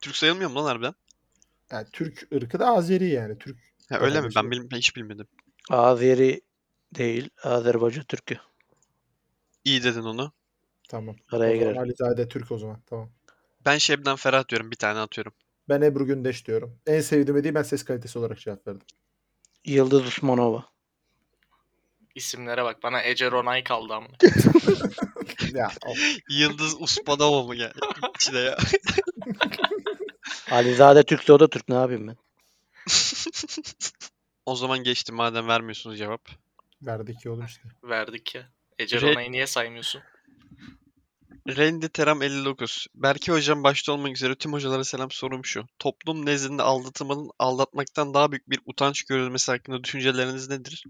Speaker 2: Türk sayılmıyor mu lan harbiden?
Speaker 3: Yani Türk ırkı da Azeri yani. Türk
Speaker 2: Ha,
Speaker 3: Daha
Speaker 2: öyle
Speaker 3: bir
Speaker 2: mi?
Speaker 3: şey.
Speaker 2: Ben, bil- ben hiç bilmedim.
Speaker 6: Azeri değil, Azerbaycan Türkü.
Speaker 2: İyi dedin onu.
Speaker 3: tamam.
Speaker 6: Araya
Speaker 3: o zaman
Speaker 6: girer.
Speaker 3: Alizade Türk o zaman. Tamam.
Speaker 2: Ben Şebnem Ferah diyorum. Bir tane atıyorum.
Speaker 3: Ben Ebru Gündeş diyorum. En sevdiğime değil ben ses kalitesi olarak cevap verdim.
Speaker 6: Yıldız Usmanova.
Speaker 5: İsimlere bak. Bana Ece Ronay kaldı ama.
Speaker 3: Ya of.
Speaker 2: Yıldız Uspadova mı geldi içine ya?
Speaker 6: Alizade Türkse o da Türk ne yapayım ben?
Speaker 2: O zaman geçti madem vermiyorsunuz cevap.
Speaker 3: verdi ki oğlum işte.
Speaker 5: Verdik ya. Ece
Speaker 2: Re-
Speaker 5: Ronay'ı niye saymıyorsun?
Speaker 2: Randy Teram 59. Berke hocam başta olmak üzere tüm hocalara selam sorum şu. Toplum nezdinde aldatılmanın aldatmaktan daha büyük bir utanç görülmesi hakkında düşünceleriniz nedir?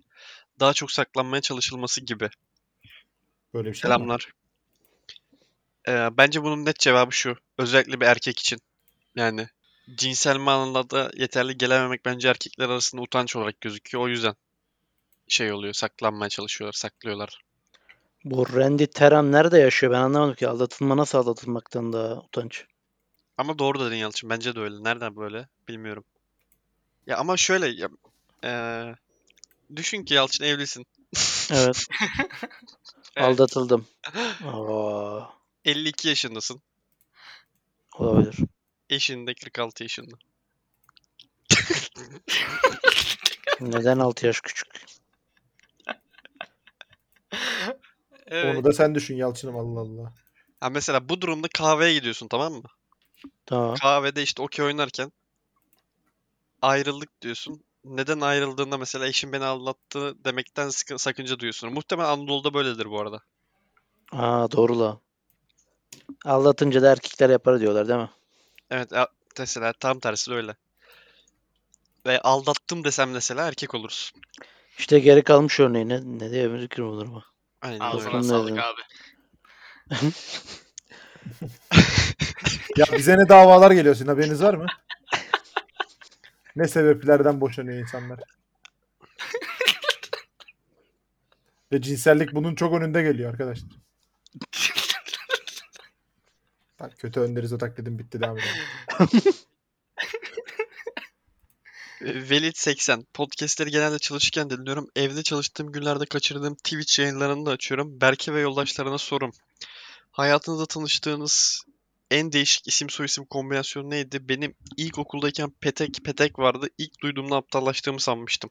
Speaker 2: Daha çok saklanmaya çalışılması gibi.
Speaker 3: Böyle bir şey mi?
Speaker 2: Selamlar. Ee, bence bunun net cevabı şu. Özellikle bir erkek için. Yani cinsel manada yeterli gelememek bence erkekler arasında utanç olarak gözüküyor. O yüzden şey oluyor. Saklanmaya çalışıyorlar, saklıyorlar.
Speaker 6: Bu Randy Teran nerede yaşıyor? Ben anlamadım ki. Aldatılma nasıl aldatılmaktan daha utanç?
Speaker 2: Ama doğru dedin Yalçın. Bence de öyle. Nereden böyle? Bilmiyorum. Ya ama şöyle ya, eee, düşün ki Yalçın evlisin.
Speaker 6: Evet.
Speaker 5: Evet.
Speaker 6: Aldatıldım. Aa,
Speaker 2: 52 yaşındasın.
Speaker 6: olabilir.
Speaker 2: Eşin de 46 yaşında.
Speaker 6: Neden 6 yaş küçük?
Speaker 5: Evet.
Speaker 3: Onu da sen düşün Yalçın'ım Allah Allah.
Speaker 2: Ha mesela bu durumda kahveye gidiyorsun tamam mı?
Speaker 6: Tamam.
Speaker 2: Kahvede işte okey oynarken ayrıldık diyorsun. neden ayrıldığında mesela eşim beni aldattı demekten sıkı- sakınca duyuyorsun. Muhtemelen Anadolu'da böyledir bu arada.
Speaker 6: Aa doğru la. Aldatınca da erkekler yapar diyorlar değil mi?
Speaker 2: Evet a- mesela tam tersi de öyle. Ve aldattım desem mesela erkek oluruz.
Speaker 6: İşte geri kalmış örneği ne, ne diye bir fikrim olur mu?
Speaker 2: Aynen öyle.
Speaker 5: Ağzına
Speaker 6: Dokun
Speaker 5: sağlık
Speaker 6: dedim.
Speaker 5: abi.
Speaker 3: Ya bize ne davalar geliyor sizin haberiniz var mı? ne sebeplerden boşanıyor insanlar? Ve cinsellik bunun çok önünde geliyor arkadaşlar. Bak kötü önderiz o taklidim bitti devam edelim.
Speaker 2: Velit 80. Podcast'leri genelde çalışırken de dinliyorum. Evde çalıştığım günlerde kaçırdığım Twitch yayınlarını da açıyorum. Berke ve yoldaşlarına sorum. Hayatınızda tanıştığınız en değişik isim soyisim kombinasyonu neydi? Benim ilk okuldayken Petek Petek vardı. İlk duyduğumda aptallaştığımı sanmıştım.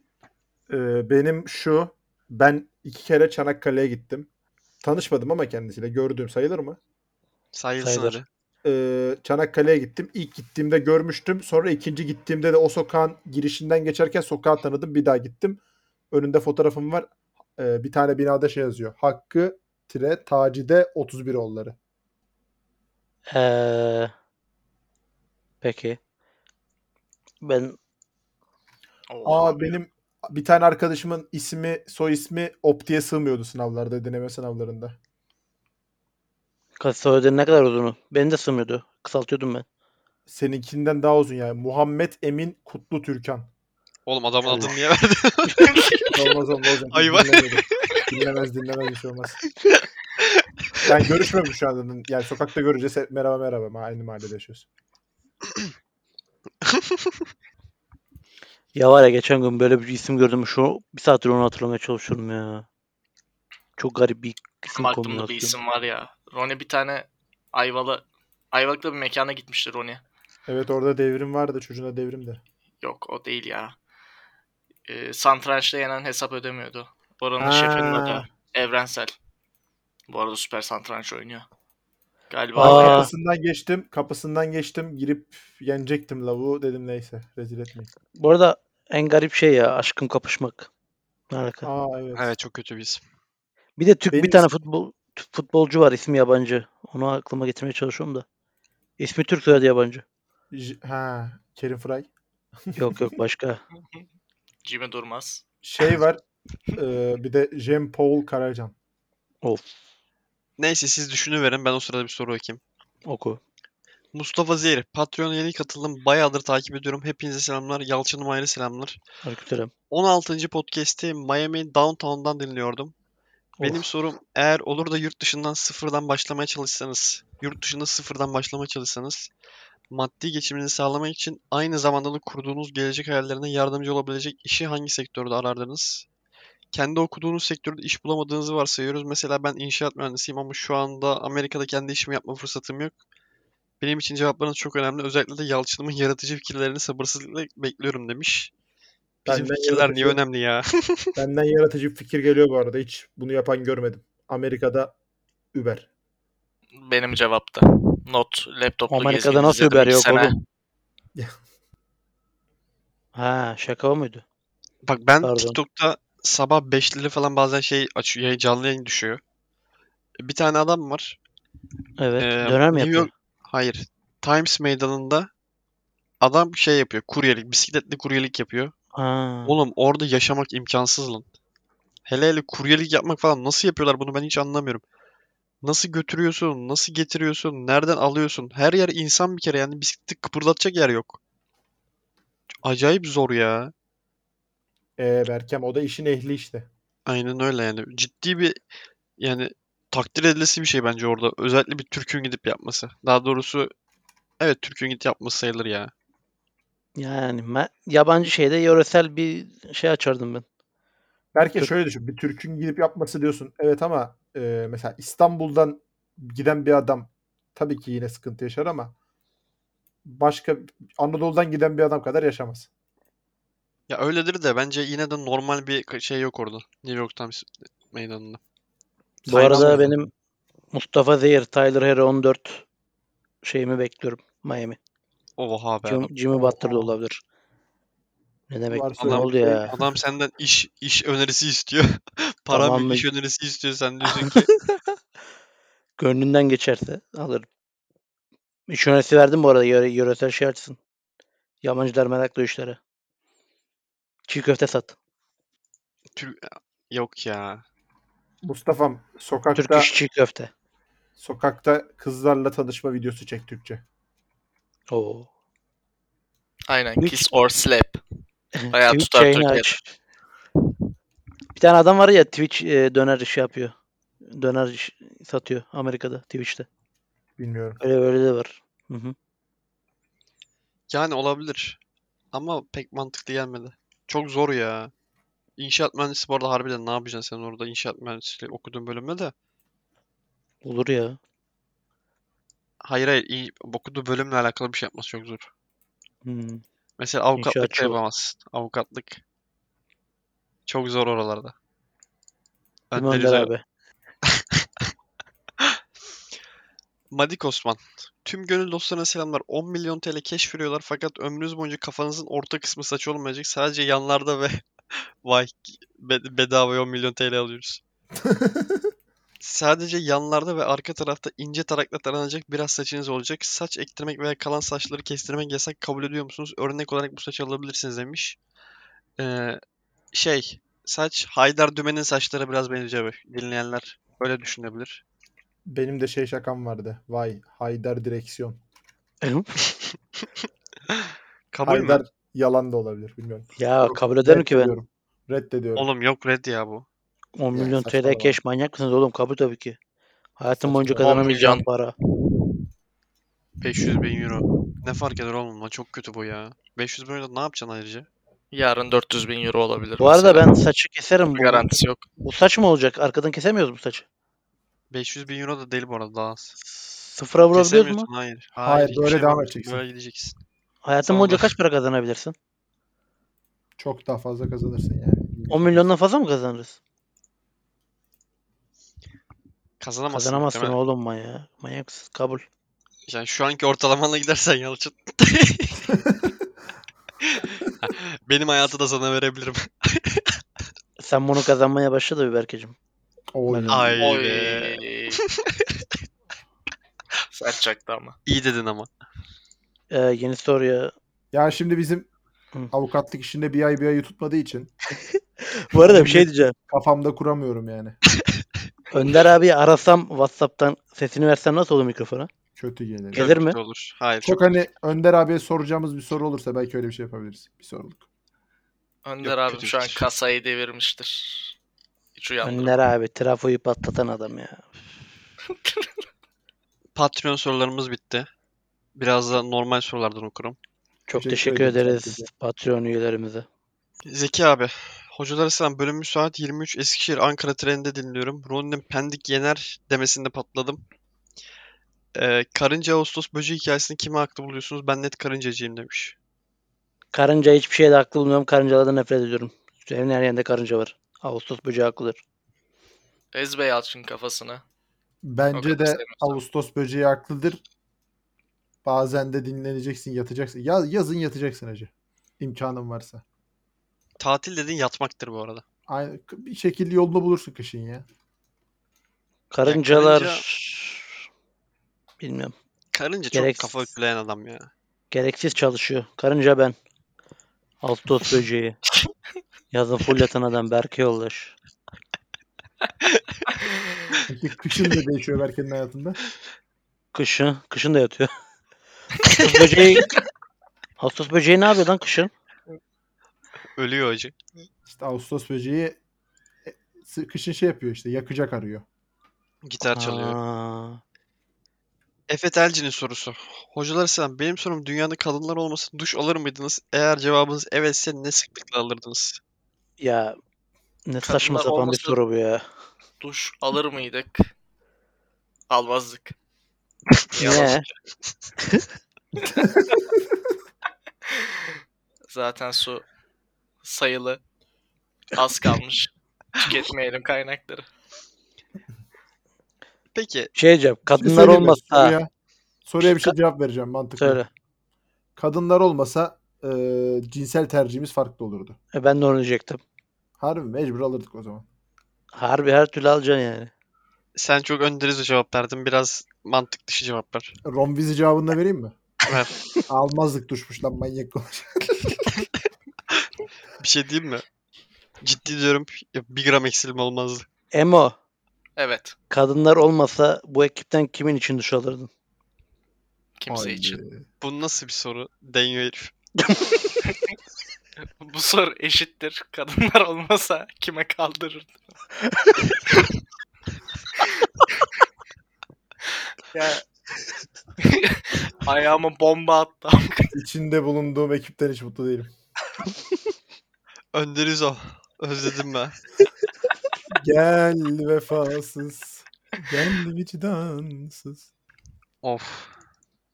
Speaker 3: Ee, benim şu ben iki kere Çanakkale'ye gittim. Tanışmadım ama kendisiyle gördüğüm sayılır mı?
Speaker 2: Sayılsın
Speaker 6: Sayılır.
Speaker 2: hadi.
Speaker 3: Ee, Çanakkale'ye gittim. İlk gittiğimde görmüştüm. Sonra ikinci gittiğimde de o sokağın girişinden geçerken sokağı tanıdım. Bir daha gittim. Önünde fotoğrafım var. Ee, bir tane binada şey yazıyor. Hakkı tire Tacide 31 oğulları.
Speaker 6: Ee, peki. Ben
Speaker 3: Aa benim bir tane arkadaşımın ismi, soy ismi Opti'ye sığmıyordu sınavlarda, deneme sınavlarında.
Speaker 6: kasa ödeni ne kadar uzunu? Beni de sığmıyordu. Kısaltıyordum ben.
Speaker 3: Seninkinden daha uzun yani. Muhammed Emin Kutlu Türkan.
Speaker 2: Oğlum adamın adını
Speaker 6: Allah.
Speaker 2: niye verdin?
Speaker 3: Olmaz olmaz. olmaz.
Speaker 2: Hayvan.
Speaker 3: Dinlemedi. Dinlemez dinlemez bir şey olmaz. Yani görüşmemiş şu anda. Yani sokakta göreceğiz. hep Merhaba merhaba. Ma- Aynı mahallede yaşıyoruz.
Speaker 6: Ya var ya geçen gün böyle bir isim gördüm. Şu bir saattir onu hatırlamaya çalışıyorum ya. Çok garip bir
Speaker 5: Benim
Speaker 6: isim
Speaker 5: aklımda bir
Speaker 6: kombinasyonu.
Speaker 5: isim var ya. Roni bir tane Ayvalı Ayvalık'ta bir mekana gitmişti Roni.
Speaker 3: Evet orada devrim vardı. Çocuğuna devrim de.
Speaker 5: Yok o değil ya. Ee, satrançta yenen hesap ödemiyordu. Oranın
Speaker 3: Ha.
Speaker 5: şefinin adı Evrensel. Bu arada süper satranç oynuyor. Galiba
Speaker 3: Ben
Speaker 6: Aa.
Speaker 3: kapısından geçtim. Kapısından geçtim. Girip yenecektim lavuğu. Dedim neyse. Rezil etmeyin.
Speaker 6: Bu arada en garip şey ya aşkın kapışmak. Ne alaka?
Speaker 3: Aa evet.
Speaker 2: Evet çok kötü bir isim.
Speaker 6: Bir de Türk
Speaker 3: Benim
Speaker 6: bir tane
Speaker 3: ismim-
Speaker 6: futbol Türk futbolcu var ismi yabancı. Onu aklıma getirmeye çalışıyorum da. İsmi Türk soyadı yabancı.
Speaker 3: J- ha. Kerim Fıray.
Speaker 6: Yok yok başka.
Speaker 5: Jimmy Durmaz.
Speaker 3: Şey var. e, bir de Jem Paul Karacan.
Speaker 2: Neyse siz düşünüverin ben o sırada bir soru okuyayım.
Speaker 6: Oku.
Speaker 2: Mustafa Zehir. Patreon'a yeni katıldım. Bayağıdır takip ediyorum. Hepinize selamlar. Yalçın'ım ayrı selamlar.
Speaker 6: Aleykümselam.
Speaker 2: 16. podcast'i Miami Downtown'dan dinliyordum. Benim
Speaker 6: Of.
Speaker 2: sorum eğer olur da yurt dışından sıfırdan başlamaya çalışsanız, yurt dışında sıfırdan başlamaya çalışsanız, maddi geçiminizi sağlamak için aynı zamanda da kurduğunuz gelecek hayallerine yardımcı olabilecek işi hangi sektörde arardınız? Kendi okuduğunuz sektörde iş bulamadığınızı varsayıyoruz. Mesela ben inşaat mühendisiyim ama şu anda Amerika'da kendi işimi yapma fırsatım yok. Benim için cevaplarınız çok önemli. Özellikle de Yalçın'ımın yaratıcı fikirlerini sabırsızlıkla bekliyorum demiş. Bizim
Speaker 3: Benden
Speaker 2: fikirler niye
Speaker 3: yaratıcı-
Speaker 2: önemli ya?
Speaker 3: Benden yaratıcı bir fikir geliyor bu arada. Hiç bunu yapan görmedim. Amerika'da Uber.
Speaker 5: Benim cevapta. Not laptopla
Speaker 6: Amerika'da
Speaker 5: gezgin
Speaker 6: nasıl
Speaker 5: izledim
Speaker 6: Uber
Speaker 5: iki
Speaker 6: yok
Speaker 5: sene.
Speaker 6: oğlum? Ha şaka mıydı?
Speaker 2: Bak ben
Speaker 6: Pardon.
Speaker 2: TikTok'ta sabah 5'leri falan bazen şey açıyor, yayın- canlı yayın düşüyor. Bir tane adam var.
Speaker 6: Evet.
Speaker 2: Ee,
Speaker 6: döner mi
Speaker 2: New
Speaker 6: yapıyor?
Speaker 2: York- Hayır. Times meydanında adam şey yapıyor. Kuryelik, bisikletli kuryelik yapıyor.
Speaker 6: Ha.
Speaker 2: Oğlum orada yaşamak imkansız lan. Hele hele kuryelik yapmak falan nasıl yapıyorlar bunu ben hiç anlamıyorum. Nasıl götürüyorsun, nasıl getiriyorsun, nereden alıyorsun? Her yer insan bir kere yani bisikleti kıpırdatacak yer yok. Acayip zor ya.
Speaker 3: Ee, Berkem o da işin ehli işte.
Speaker 2: Aynen öyle yani. Ciddi bir yani takdir edilesi bir şey bence orada. Özellikle bir Türk'ün gidip yapması. Daha doğrusu evet Türk'ün gidip yapması sayılır ya.
Speaker 6: Yani ben yabancı şeyde yöresel bir şey açardım ben.
Speaker 3: Berke
Speaker 6: Türk-
Speaker 3: şöyle düşün. Bir Türk'ün gidip yapması diyorsun. Evet ama e, mesela İstanbul'dan giden bir adam tabii ki yine sıkıntı yaşar ama başka Anadolu'dan giden bir adam kadar yaşamaz.
Speaker 2: Ya öyledir de bence yine de normal bir ka- şey yok orada. New York Times meydanında.
Speaker 6: Bu
Speaker 2: Saygı
Speaker 6: arada
Speaker 2: duyuyorum.
Speaker 6: benim Mustafa Zehir, Tyler Hero 14 şeyimi bekliyorum. Miami.
Speaker 2: Oha be.
Speaker 6: Jim, Jimmy Butler da olabilir. Ne demek?
Speaker 3: Varsa
Speaker 6: Ne
Speaker 2: adam-
Speaker 6: oldu ya?
Speaker 2: Adam senden iş iş önerisi istiyor. Para
Speaker 6: Tamam
Speaker 2: bir
Speaker 6: be.
Speaker 2: iş önerisi istiyor. Sen diyorsun ki
Speaker 6: Gönlünden geçerse alırım. İş önerisi verdim bu arada. Yöre, yöresel şey açsın. Yabancılar meraklı o işlere. Çiğ köfte sat.
Speaker 2: yok ya.
Speaker 3: Mustafa'm sokakta
Speaker 6: Türk iş çiğ köfte.
Speaker 3: sokakta kızlarla tanışma videosu çek Türkçe.
Speaker 6: Oo.
Speaker 5: Aynen
Speaker 6: Twitch-
Speaker 5: kiss or slap. Bayağı
Speaker 6: Twitch
Speaker 5: tutar
Speaker 6: yayını
Speaker 5: Türkiye'de.
Speaker 6: aç. Bir tane adam var ya Twitch e, döner işi yapıyor. Döner iş satıyor Amerika'da Twitch'te.
Speaker 3: Bilmiyorum.
Speaker 6: Öyle böyle de var. Hı hı.
Speaker 2: Yani olabilir. Ama pek mantıklı gelmedi. Çok zor ya. İnşaat mühendisi bu arada harbiden ne yapacaksın sen orada inşaat mühendisliği okuduğun bölümde de.
Speaker 6: Olur ya.
Speaker 2: Hayır hayır iyi okuduğu bölümle alakalı bir şey yapması çok zor.
Speaker 6: Hmm.
Speaker 2: Mesela avukatlık da şey
Speaker 6: İnşaatçı ol.
Speaker 2: yapamazsın. Avukatlık. Çok zor oralarda.
Speaker 6: Değil mi
Speaker 2: Önder
Speaker 6: Önder
Speaker 2: Özel-
Speaker 6: abi?
Speaker 2: Madik Osman. Tüm gönül dostlarına selamlar. 10 milyon TL keş veriyorlar fakat ömrünüz boyunca kafanızın orta kısmı saç olmayacak. Sadece yanlarda ve vay be- bedavaya 10 milyon TL alıyoruz. Sadece yanlarda ve arka tarafta ince tarakla taranacak biraz saçınız olacak. Saç ektirmek veya kalan saçları kestirmek yasak kabul ediyor musunuz? Örnek olarak bu saçı alabilirsiniz demiş. Ee, şey, saç Haydar Dümen'in saçlara biraz benziyor. Dinleyenler öyle düşünebilir.
Speaker 3: Benim de şey şakam vardı. Vay Haydar direksiyon.
Speaker 2: Kabul mü?
Speaker 3: Haydar yalan da olabilir bilmiyorum.
Speaker 6: ya
Speaker 3: Yok,
Speaker 6: kabul ederim ki ben.
Speaker 3: Reddediyorum. Reddediyorum.
Speaker 2: Oğlum yok red ya bu.
Speaker 6: 10
Speaker 3: Ya
Speaker 6: milyon TL
Speaker 3: saçmalama.
Speaker 6: keş manyak mısınız oğlum? Kabul tabii ki. Hayatım boyunca
Speaker 3: Saçmalama.
Speaker 5: 10
Speaker 6: kazanamayacağım
Speaker 5: milyon.
Speaker 6: para.
Speaker 2: 500 bin euro. Ne fark eder oğlum lan çok kötü bu ya. 500 bin euro ne yapacaksın ayrıca?
Speaker 5: Yarın 400 bin euro olabilir.
Speaker 6: Bu arada
Speaker 5: mesela.
Speaker 6: ben saçı keserim. Bu,
Speaker 5: garantisi yok.
Speaker 6: bu saç mı olacak? Arkadan kesemiyoruz bu saçı.
Speaker 2: 500 bin euro da değil bu arada daha az.
Speaker 6: Sıfıra vurabiliyoruz mu?
Speaker 2: Kesemiyorsun, Hayır.
Speaker 3: Hayır,
Speaker 2: hiçbir
Speaker 3: böyle
Speaker 2: şey
Speaker 3: devam
Speaker 2: yok.
Speaker 3: edeceksin.
Speaker 2: Böyle gideceksin.
Speaker 6: Hayatım
Speaker 2: Sağ
Speaker 6: boyunca
Speaker 2: ol.
Speaker 6: kaç para kazanabilirsin?
Speaker 3: Çok daha fazla kazanırsın yani.
Speaker 6: 10 milyondan fazla mı kazanırız?
Speaker 2: Kazanamazsın.
Speaker 6: Kazanamazsın
Speaker 2: muhtemelen.
Speaker 6: oğlum manya. Manyaksız kabul.
Speaker 2: Yani şu anki ortalamanla gidersen Yalçın. Benim hayatı da sana verebilirim.
Speaker 6: Sen bunu kazanmaya başladı bir Berke'cim.
Speaker 3: Oy.
Speaker 2: Ay
Speaker 5: Oy.
Speaker 2: be.
Speaker 5: Sert çaktı ama.
Speaker 2: İyi dedin ama.
Speaker 6: Ee, yeni soruya.
Speaker 3: Yani şimdi bizim
Speaker 6: Hı.
Speaker 3: avukatlık işinde bir ay bir ayı tutmadığı için
Speaker 6: Bu arada bir şey diyeceğim.
Speaker 3: kafamda kuramıyorum yani.
Speaker 6: Önder abi arasam Whatsapp'tan sesini versen nasıl olur mikrofona?
Speaker 3: Kötü gelir.
Speaker 2: Çok
Speaker 6: Gelir mi?
Speaker 2: kötü olur. Hayır.
Speaker 3: Çok hani Önder abiye soracağımız bir soru olursa belki öyle bir şey yapabiliriz. Bir soruluk.
Speaker 5: Önder
Speaker 2: Yok,
Speaker 5: abim
Speaker 2: kötü şey.
Speaker 5: şu an
Speaker 2: fikir.
Speaker 5: kasayı devirmiştir. Hiç uyandım.
Speaker 6: Önder abi trafoyu patlatan adam ya.
Speaker 2: Patreon sorularımız bitti. Biraz da normal sorulardan okurum.
Speaker 6: Çok
Speaker 3: Teşekkür
Speaker 6: teşekkür
Speaker 3: ederim
Speaker 6: ederiz
Speaker 3: herkese.
Speaker 6: Patreon üyelerimize.
Speaker 2: Zeki abi. Hocalara selam. Bölümü saat 23 Eskişehir Ankara treninde dinliyorum. Ronnie'nin Pendik yener demesinde patladım. Ee, karınca Ağustos böceği hikayesini kime haklı buluyorsunuz? Ben net karıncacıyım demiş.
Speaker 6: Karınca hiçbir şeyde haklı bulmuyorum. Karıncalardan nefret ediyorum. Evin her yerinde karınca var. Ağustos böceği haklıdır.
Speaker 5: Ezbe Yalçın kafasına.
Speaker 3: Bence
Speaker 5: Yok,
Speaker 3: de
Speaker 5: istemiyorum.
Speaker 3: Ağustos böceği haklıdır. Bazen de dinleneceksin, yatacaksın. Ya, yazın yatacaksın hacı. İmkanın varsa.
Speaker 2: Tatil dediğin yatmaktır bu arada.
Speaker 3: Aynı, bir şekilde yolunu bulursun kışın ya.
Speaker 6: Karıncalar...
Speaker 2: karınca-
Speaker 6: Bilmiyorum.
Speaker 2: Karınca
Speaker 6: Gereksiz.
Speaker 2: çok kafa ütüleyen adam ya.
Speaker 6: Gereksiz çalışıyor. Karınca ben. Ağustos böceği. Yazın full yatan adam Berke yoldaş.
Speaker 3: Peki kışın da değişiyor Berke'nin hayatında.
Speaker 6: Kışın, kışın da yatıyor. Ağustos böceği, Ağustos böceği ne yapıyor lan kışın?
Speaker 2: Ölüyor acı.
Speaker 3: İşte Ağustos böceği e, sı- kışın şey yapıyor işte yakacak arıyor.
Speaker 2: Gitar çalıyor.
Speaker 6: Aa,
Speaker 2: Efe Telci'nin sorusu. Hocalar selam. Benim sorum dünyada kadınlar olmasa duş alır mıydınız? Eğer cevabınız evetse ne sıklıkla alırdınız?
Speaker 6: ya ne saçma
Speaker 5: Kadınlar
Speaker 6: sapan
Speaker 5: olmasa-
Speaker 6: bir soru bu ya.
Speaker 5: Duş alır mıydık? Almazdık.
Speaker 6: Ne?
Speaker 5: Zaten su sayılı. Az kalmış. Tüketmeyelim kaynakları.
Speaker 2: Peki
Speaker 6: Şey diyeceğim.
Speaker 3: Bir şey
Speaker 6: Kadınlar
Speaker 3: söyleyeyim ben
Speaker 6: olmasa
Speaker 3: Soruya, soruya bir şey cevap vereceğim mantıklı.
Speaker 6: söyle.
Speaker 3: Kadınlar olmasa e, cinsel tercihimiz farklı olurdu.
Speaker 6: E ben de onu diyecektim.
Speaker 3: Harbi mecbur alırdık o zaman.
Speaker 6: Harbi her türlü alacaksın yani.
Speaker 2: Sen çok önderiz cevap verdin. Biraz mantık dışı cevaplar.
Speaker 3: Romvizi cevabını da vereyim mi?
Speaker 2: Ver.
Speaker 3: Almazlık düşmüş lan manyak konuş.
Speaker 2: Bir şey diyeyim mi? Ciddi diyorum. Bir gram eksilim olmazdı.
Speaker 6: Emo,
Speaker 5: Evet.
Speaker 6: kadınlar olmasa bu ekipten kimin için duş alırdın?
Speaker 5: Kimse
Speaker 3: Haydi.
Speaker 5: için.
Speaker 2: Bu nasıl bir soru? Deniyor herif.
Speaker 5: Bu soru eşittir. Kadınlar olmasa kime kaldırırdı? ya ayağıma bomba attı.
Speaker 3: İçinde bulunduğum ekipten hiç mutlu değilim.
Speaker 2: Önderiz o. Özledim ben.
Speaker 3: Gel vefasız. Gel vicdansız.
Speaker 2: Of.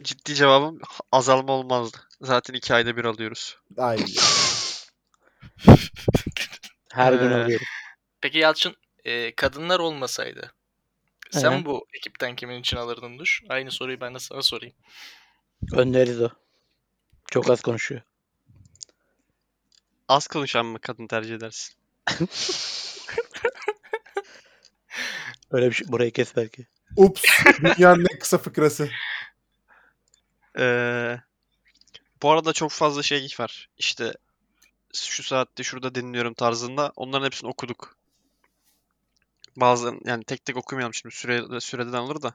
Speaker 2: Ciddi cevabım azalma olmazdı. Zaten iki ayda bir alıyoruz.
Speaker 3: Ay.
Speaker 6: Her gün
Speaker 2: Ee,
Speaker 6: alıyorum.
Speaker 5: Peki Yalçın e, kadınlar olmasaydı sen
Speaker 6: Evet.
Speaker 5: bu ekipten kimin için alırdın duş? Aynı soruyu ben de sana sorayım.
Speaker 6: Önderiz o. Çok az konuşuyor.
Speaker 2: Az konuşan mı kadın tercih edersin?
Speaker 6: Öyle bir şey. Burayı kes belki.
Speaker 3: Ups. Dünyanın en kısa fıkrası.
Speaker 2: Ee, bu arada çok fazla şey var. İşte şu saatte şurada dinliyorum tarzında. Onların hepsini okuduk. Bazen yani tek tek okumayalım şimdi süre, süreden alır da.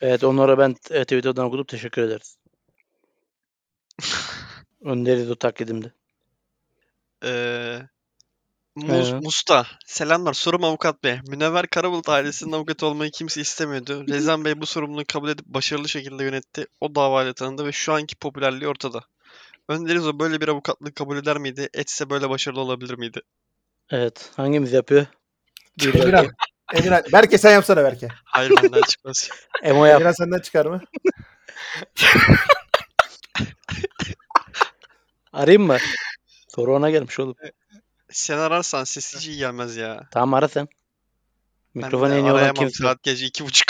Speaker 6: Evet onlara ben e, Twitter'dan okudum. Teşekkür ederiz. Önderiz o taklidimde.
Speaker 2: Ee, Muz,
Speaker 6: Ee?
Speaker 2: Musta. Selamlar. Sorum avukat bey. Münevver Karabulut ailesinin avukatı olmayı kimse istemiyordu. Rezan Bey bu sorumluluğu kabul edip başarılı şekilde yönetti. O davayla tanındı ve şu anki popülerliği ortada. Önderiz o böyle bir avukatlığı kabul eder miydi? Etse böyle başarılı olabilir miydi?
Speaker 6: Evet. Hangimiz yapıyor? Bir
Speaker 3: Emirhan.
Speaker 6: dakika.
Speaker 3: Emirhan. Berke sen yapsana Berke.
Speaker 2: Hayır benden çıkmaz.
Speaker 6: Emo yap.
Speaker 3: Emirhan senden çıkar mı?
Speaker 6: Arayayım mı? Soru ona gelmiş oğlum.
Speaker 2: Sen ararsan sessiz iyi gelmez ya.
Speaker 6: Tamam ara sen.
Speaker 2: Ben bir
Speaker 6: Mikrofon
Speaker 2: de
Speaker 6: en iyi olan
Speaker 2: arayamam.
Speaker 6: kimse.
Speaker 2: Saat gece iki buçuk.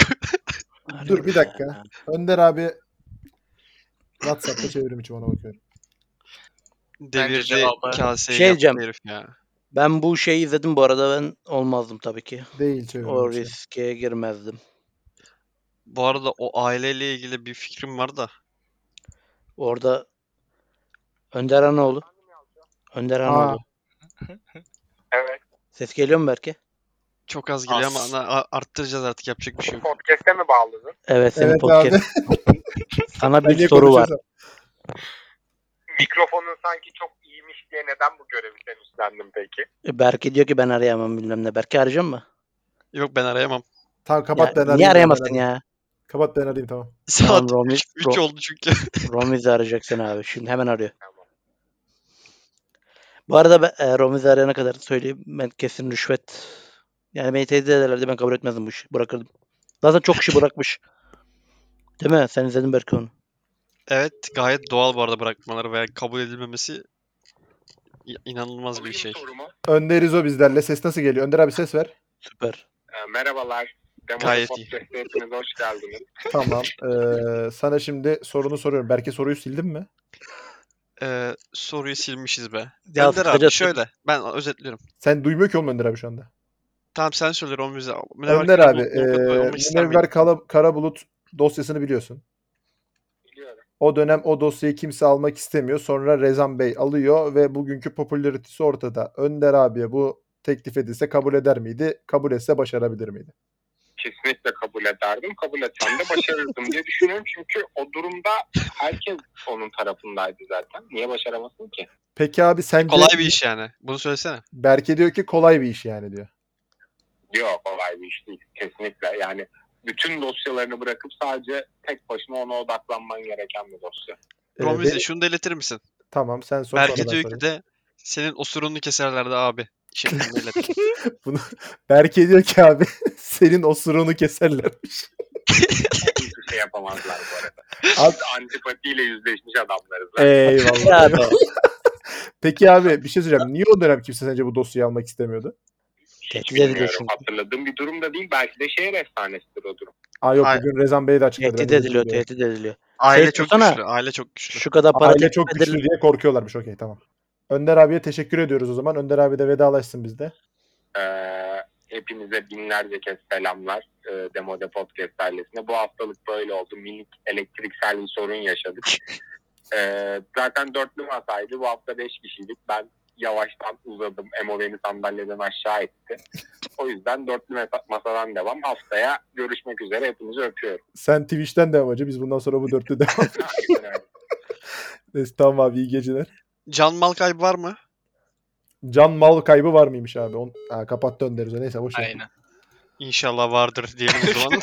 Speaker 6: Arayayım.
Speaker 3: Dur bir dakika. Önder abi WhatsApp'ta çevirim için ona bakıyorum.
Speaker 2: Devirdi
Speaker 5: cevabı-
Speaker 2: kaseyi
Speaker 6: Şey
Speaker 2: yaptı
Speaker 6: diyeceğim.
Speaker 2: herif ya.
Speaker 6: Ben bu şeyi izledim bu arada ben olmazdım tabii ki.
Speaker 3: Değil çevirim.
Speaker 6: O
Speaker 3: için.
Speaker 6: riske girmezdim.
Speaker 2: Bu arada o aileyle ilgili bir fikrim var da.
Speaker 6: Orada Önder Anoğlu. Önder Anoğlu.
Speaker 9: Evet.
Speaker 6: Ses geliyor mu belki?
Speaker 2: Çok az geliyor ama
Speaker 5: Az.
Speaker 2: ana- a- arttıracağız artık yapacak bir şey yok.
Speaker 9: Podcast'e mi bağladın?
Speaker 6: Evet senin
Speaker 3: Evet
Speaker 6: podcast.
Speaker 3: abi.
Speaker 6: Sana
Speaker 3: Niye
Speaker 6: bir soru var.
Speaker 3: konuşuyorsun?
Speaker 9: Mikrofonun sanki çok iyiymiş diye neden bu görevi sen üstlendin peki?
Speaker 6: E, Berke diyor ki ben arayamam bilmem ne. Berke arayacak mı?
Speaker 2: Yok ben arayamam.
Speaker 3: Tamam kapat ben
Speaker 6: ya,
Speaker 3: arayayım.
Speaker 6: niye
Speaker 3: ben
Speaker 6: arayamazsın
Speaker 3: arayayım.
Speaker 6: ya?
Speaker 3: Kapat ben arayayım tamam.
Speaker 2: Saat
Speaker 6: Romi-
Speaker 2: 3
Speaker 6: Ro-
Speaker 2: oldu çünkü.
Speaker 6: Romiz arayacaksın abi. Şimdi hemen arıyor.
Speaker 9: Tamam.
Speaker 6: Bu arada ben, e, Romiz'i arayana kadar söyleyeyim. Ben kesin rüşvet. Yani beni tehdit ederlerdi ben kabul etmezdim bu işi. Bırakırdım. Zaten çok kişi bırakmış. Değil mi? Sen izledin belki onu.
Speaker 2: Evet gayet doğal bu arada bırakmaları veya kabul edilmemesi i- inanılmaz bir şey.
Speaker 9: sorumu.
Speaker 3: Önder İzo bizlerle. Ses nasıl geliyor? Önder abi ses ver.
Speaker 6: Süper.
Speaker 9: Ee, merhabalar. Demo
Speaker 2: Gayet iyi.
Speaker 9: Podcast'e hepiniz hoş geldiniz.
Speaker 3: Tamam. Ee, sana şimdi sorunu soruyorum. Berke soruyu sildin mi?
Speaker 2: Ee, soruyu silmişiz be.
Speaker 6: Ya
Speaker 2: Önder abi
Speaker 6: kısacası-
Speaker 2: şöyle ben özetliyorum.
Speaker 3: Sen duymuyor ki oğlum Önder abi şu anda.
Speaker 2: Tamam sen söyle Romize. Münevver
Speaker 3: Önder
Speaker 2: Karabulut
Speaker 3: abi.
Speaker 2: mu, avukat mı? Olmak
Speaker 3: E,
Speaker 2: ister miydin?
Speaker 3: Münevver Kala- Karabulut dosyasını biliyorsun.
Speaker 9: Biliyorum.
Speaker 3: O dönem o dosyayı kimse almak istemiyor. Sonra Rezan Bey alıyor ve bugünkü popülaritesi ortada. Önder abiye bu teklif edilse kabul eder miydi? Kabul etse başarabilir miydi?
Speaker 9: Kesinlikle kabul ederdim. Kabul etsem de başarırdım diye düşünüyorum. Çünkü o durumda herkes onun tarafındaydı zaten. Niye başaramasın ki?
Speaker 3: Peki abi sence
Speaker 2: Kolay bir iş yani. Bunu söylesene.
Speaker 3: Berke diyor ki kolay bir iş yani diyor.
Speaker 9: Yok kolay bir iş değil. Kesinlikle yani bütün dosyalarını bırakıp sadece tek başına ona odaklanman gereken bir dosya.
Speaker 3: Ee,
Speaker 2: Romize
Speaker 3: ve-
Speaker 2: şunu da iletir misin?
Speaker 3: Tamam sen sor. sonra
Speaker 2: Berke
Speaker 3: ben
Speaker 2: diyor
Speaker 3: sorayım.
Speaker 2: ki de senin osurunu keserlerdi abi. Şeklinde iletir.
Speaker 3: Berke diyor ki abi senin osurunu keserler.
Speaker 9: Hiçbir şey yapamazlar bu arada.
Speaker 3: Abi,
Speaker 9: Biz antipatiyle yüzleşmiş adamlarız.
Speaker 3: eyvallah.
Speaker 6: Ya be.
Speaker 3: Peki abi bir şey söyleyeceğim. Niye o dönem kimse sence bu dosyayı almak istemiyordu?
Speaker 9: Hiç
Speaker 6: Tehdit ediliyor
Speaker 9: bilmiyorum.
Speaker 6: çünkü.
Speaker 9: şey Hatırladığım bir durum da değil. Belki de şehir efsanesidir o durum.
Speaker 3: Aa yok
Speaker 2: Hayır.
Speaker 3: bugün Rezan Bey de açıkladı.
Speaker 6: Tehdit
Speaker 3: ben de
Speaker 6: ediliyor,
Speaker 3: bilmiyorum.
Speaker 6: tehdit ediliyor.
Speaker 2: Aile
Speaker 6: Seyit
Speaker 2: çok
Speaker 6: Ozan'a-
Speaker 2: güçlü. Aile çok güçlü.
Speaker 6: Şu kadar para
Speaker 10: Aile çok
Speaker 6: lütfedilir-
Speaker 10: güçlü diye korkuyorlarmış. Okey tamam.
Speaker 3: Önder abiye teşekkür ediyoruz o zaman. Önder abi de vedalaşsın bizde.
Speaker 9: Ee, hepinize binlerce kez selamlar e, Demode Podcast ailesine. Bu haftalık böyle oldu. Minik elektriksel bir sorun yaşadık. Ee, zaten dörtlü masaydı. Bu hafta beş kişiydik. Ben yavaştan uzadım. Emo beni sandalyeden aşağı etti. O yüzden dörtlü mesa- masadan devam. Haftaya görüşmek üzere. Hepinizi öpüyorum.
Speaker 3: Sen Twitch'ten devam hacı. Biz bundan sonra bu dörtlü devam
Speaker 9: Aynen öyle.
Speaker 3: ederiz. Tamam abi iyi geceler.
Speaker 2: Can mal kaybı var mı?
Speaker 3: Can mal kaybı var mıymış abi? On... Ha, kapattı Önder Özel. Neyse boş ver.
Speaker 5: Aynen.
Speaker 2: İnşallah vardır diyelim o zaman.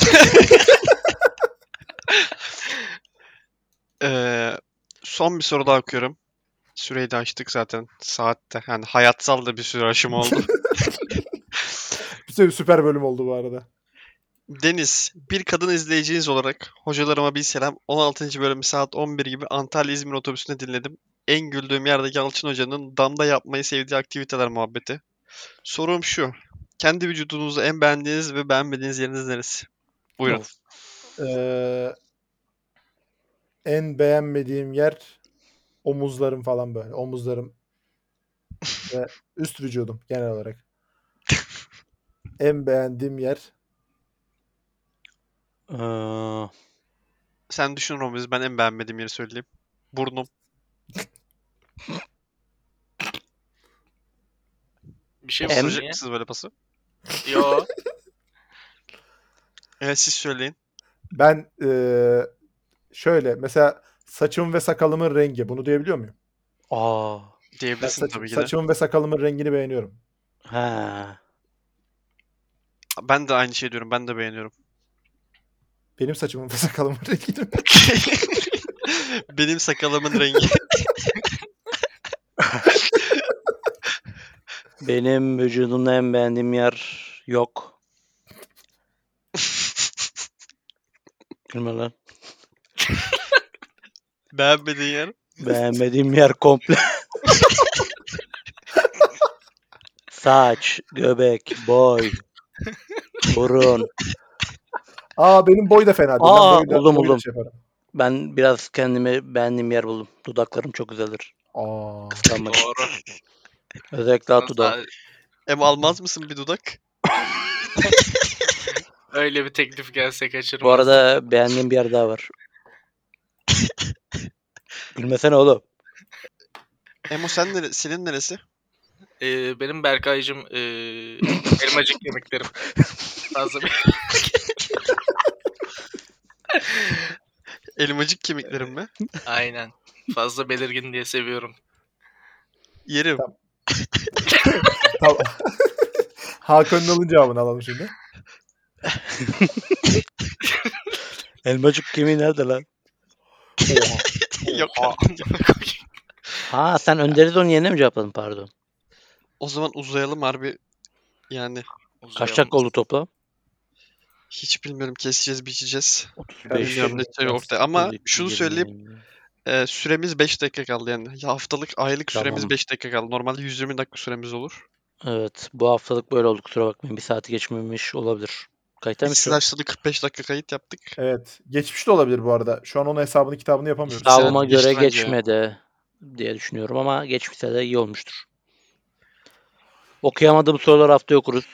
Speaker 2: Ee, son bir soru daha okuyorum. Süreyi de açtık zaten. Saatte. Yani hayatsal da bir sürü aşım oldu.
Speaker 3: Bir sürü süper bölüm oldu bu arada.
Speaker 2: Deniz, bir kadın izleyiciniz olarak hocalarıma bir selam. 16. bölümü saat 11 gibi Antalya İzmir otobüsünde dinledim. En güldüğüm yerdeki Yalçın Hoca'nın damda yapmayı sevdiği aktiviteler muhabbeti. Sorum şu. Kendi vücudunuzda en beğendiğiniz ve beğenmediğiniz yeriniz neresi? Buyurun.
Speaker 3: Ee, en beğenmediğim yer omuzlarım falan böyle. Omuzlarım ve üst vücudum genel olarak. En beğendiğim yer
Speaker 6: Ee,
Speaker 2: Sen düşün Romiz. Ben en beğenmediğim yeri söyleyeyim. Burnum.
Speaker 5: Bir şey mi
Speaker 6: Em-
Speaker 2: Soracak
Speaker 5: soracak
Speaker 2: mısınız böyle pası?
Speaker 5: Yo.
Speaker 2: Evet siz söyleyin.
Speaker 3: ben ee, şöyle mesela saçım ve sakalımın rengi bunu diyebiliyor muyum?
Speaker 6: aa.
Speaker 3: Ben
Speaker 2: Diyebilirsin
Speaker 3: saçım,
Speaker 2: tabii ki de.
Speaker 3: saçımın ve sakalımın rengini beğeniyorum.
Speaker 6: Ha.
Speaker 2: Ben de aynı şey diyorum. Ben de beğeniyorum.
Speaker 3: Benim saçımın ve sakalımın rengini
Speaker 2: Benim sakalımın rengi.
Speaker 6: Benim vücudumda en beğendiğim yer yok. Gülme lan.
Speaker 2: Beğenmediğin yer.
Speaker 6: Beğenmediğim yer komple. Saç, göbek, boy, burun.
Speaker 3: Aa benim boy da fena değil. Ben
Speaker 6: Aa,
Speaker 3: boyu da-
Speaker 6: oğlum,
Speaker 3: boyu da
Speaker 6: oğlum.
Speaker 3: şey yaparım.
Speaker 6: Ben biraz kendimi beğendiğim yer buldum. Dudaklarım çok güzeldir.
Speaker 3: Aa.
Speaker 6: Kıskanmak.
Speaker 5: Doğru.
Speaker 6: Özellikle alt dudağı.
Speaker 2: Em almaz mısın bir dudak?
Speaker 5: Öyle bir teklif gelse kaçırmaz.
Speaker 6: Bu arada beğendiğim bir yer daha var. Gülmesene oğlum.
Speaker 2: Emo sen nere senin neresi?
Speaker 5: Ee, benim Berkay'cım ee, elmacık yemeklerim. Fazla bir...
Speaker 2: Elmacık kemiklerim mi?
Speaker 5: Aynen. Fazla belirgin diye seviyorum.
Speaker 3: Ee,
Speaker 2: Yerim.
Speaker 3: Tamam. Hakan'ın alın cevabını alalım şimdi.
Speaker 6: Elmacık kemiği nerede lan?
Speaker 2: Yok.
Speaker 6: Ha sen Önder'i onun yerine mi cevapladın pardon?
Speaker 2: O zaman uzayalım harbi. Yani
Speaker 6: Kaç
Speaker 5: Uzayalım.
Speaker 6: dakika oldu toplam?
Speaker 2: hiç bilmiyorum keseceğiz biçeceğiz.
Speaker 6: 35
Speaker 2: Bilmiyorum ne şey ortaya ama şunu söyleyeyim e, süremiz 5 dakika kaldı yani. Ya haftalık aylık süremiz
Speaker 6: Tamam.
Speaker 2: 5 dakika kaldı. Normalde 120 dakika süremiz olur.
Speaker 6: Evet bu haftalık böyle oldu kusura bakmayın. Bir saati geçmemiş olabilir. Kayıtta mı
Speaker 2: Biz
Speaker 6: şu?
Speaker 2: Slash'ta da 45 dakika kayıt yaptık.
Speaker 3: Evet. Geçmiş de olabilir bu arada. Şu an onun hesabını kitabını yapamıyoruz.
Speaker 2: Sağ ol.
Speaker 6: Hesabıma
Speaker 2: geçti
Speaker 6: göre
Speaker 2: bence ya.
Speaker 6: geçmedi diye düşünüyorum ama geçmişse de iyi olmuştur. Okuyamadığım sorular haftaya okuruz.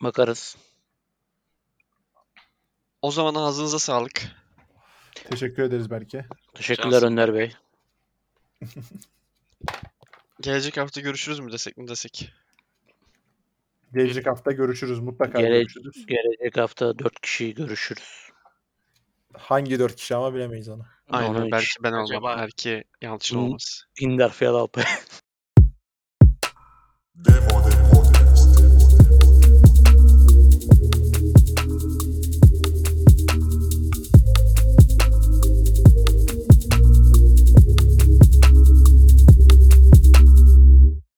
Speaker 6: Bakarız.
Speaker 2: O zaman ağzınıza sağlık.
Speaker 3: Teşekkür ederiz belki.
Speaker 6: Teşekkürler
Speaker 5: Cansın.
Speaker 6: Önder Bey.
Speaker 2: Gelecek hafta görüşürüz mü desek mi desek?
Speaker 3: Gelecek hafta görüşürüz. Mutlaka
Speaker 6: Gele-
Speaker 3: görüşürüz.
Speaker 6: Gelecek hafta 4 kişi görüşürüz.
Speaker 3: Hangi dört kişi ama bilemeyiz onu.
Speaker 2: Aynen
Speaker 6: Onu hiç-
Speaker 2: belki ben olmam.
Speaker 5: Acaba-
Speaker 2: Belki Yalçın
Speaker 6: Hı.
Speaker 2: olmaz.
Speaker 6: Hinder Fiyal Alpay.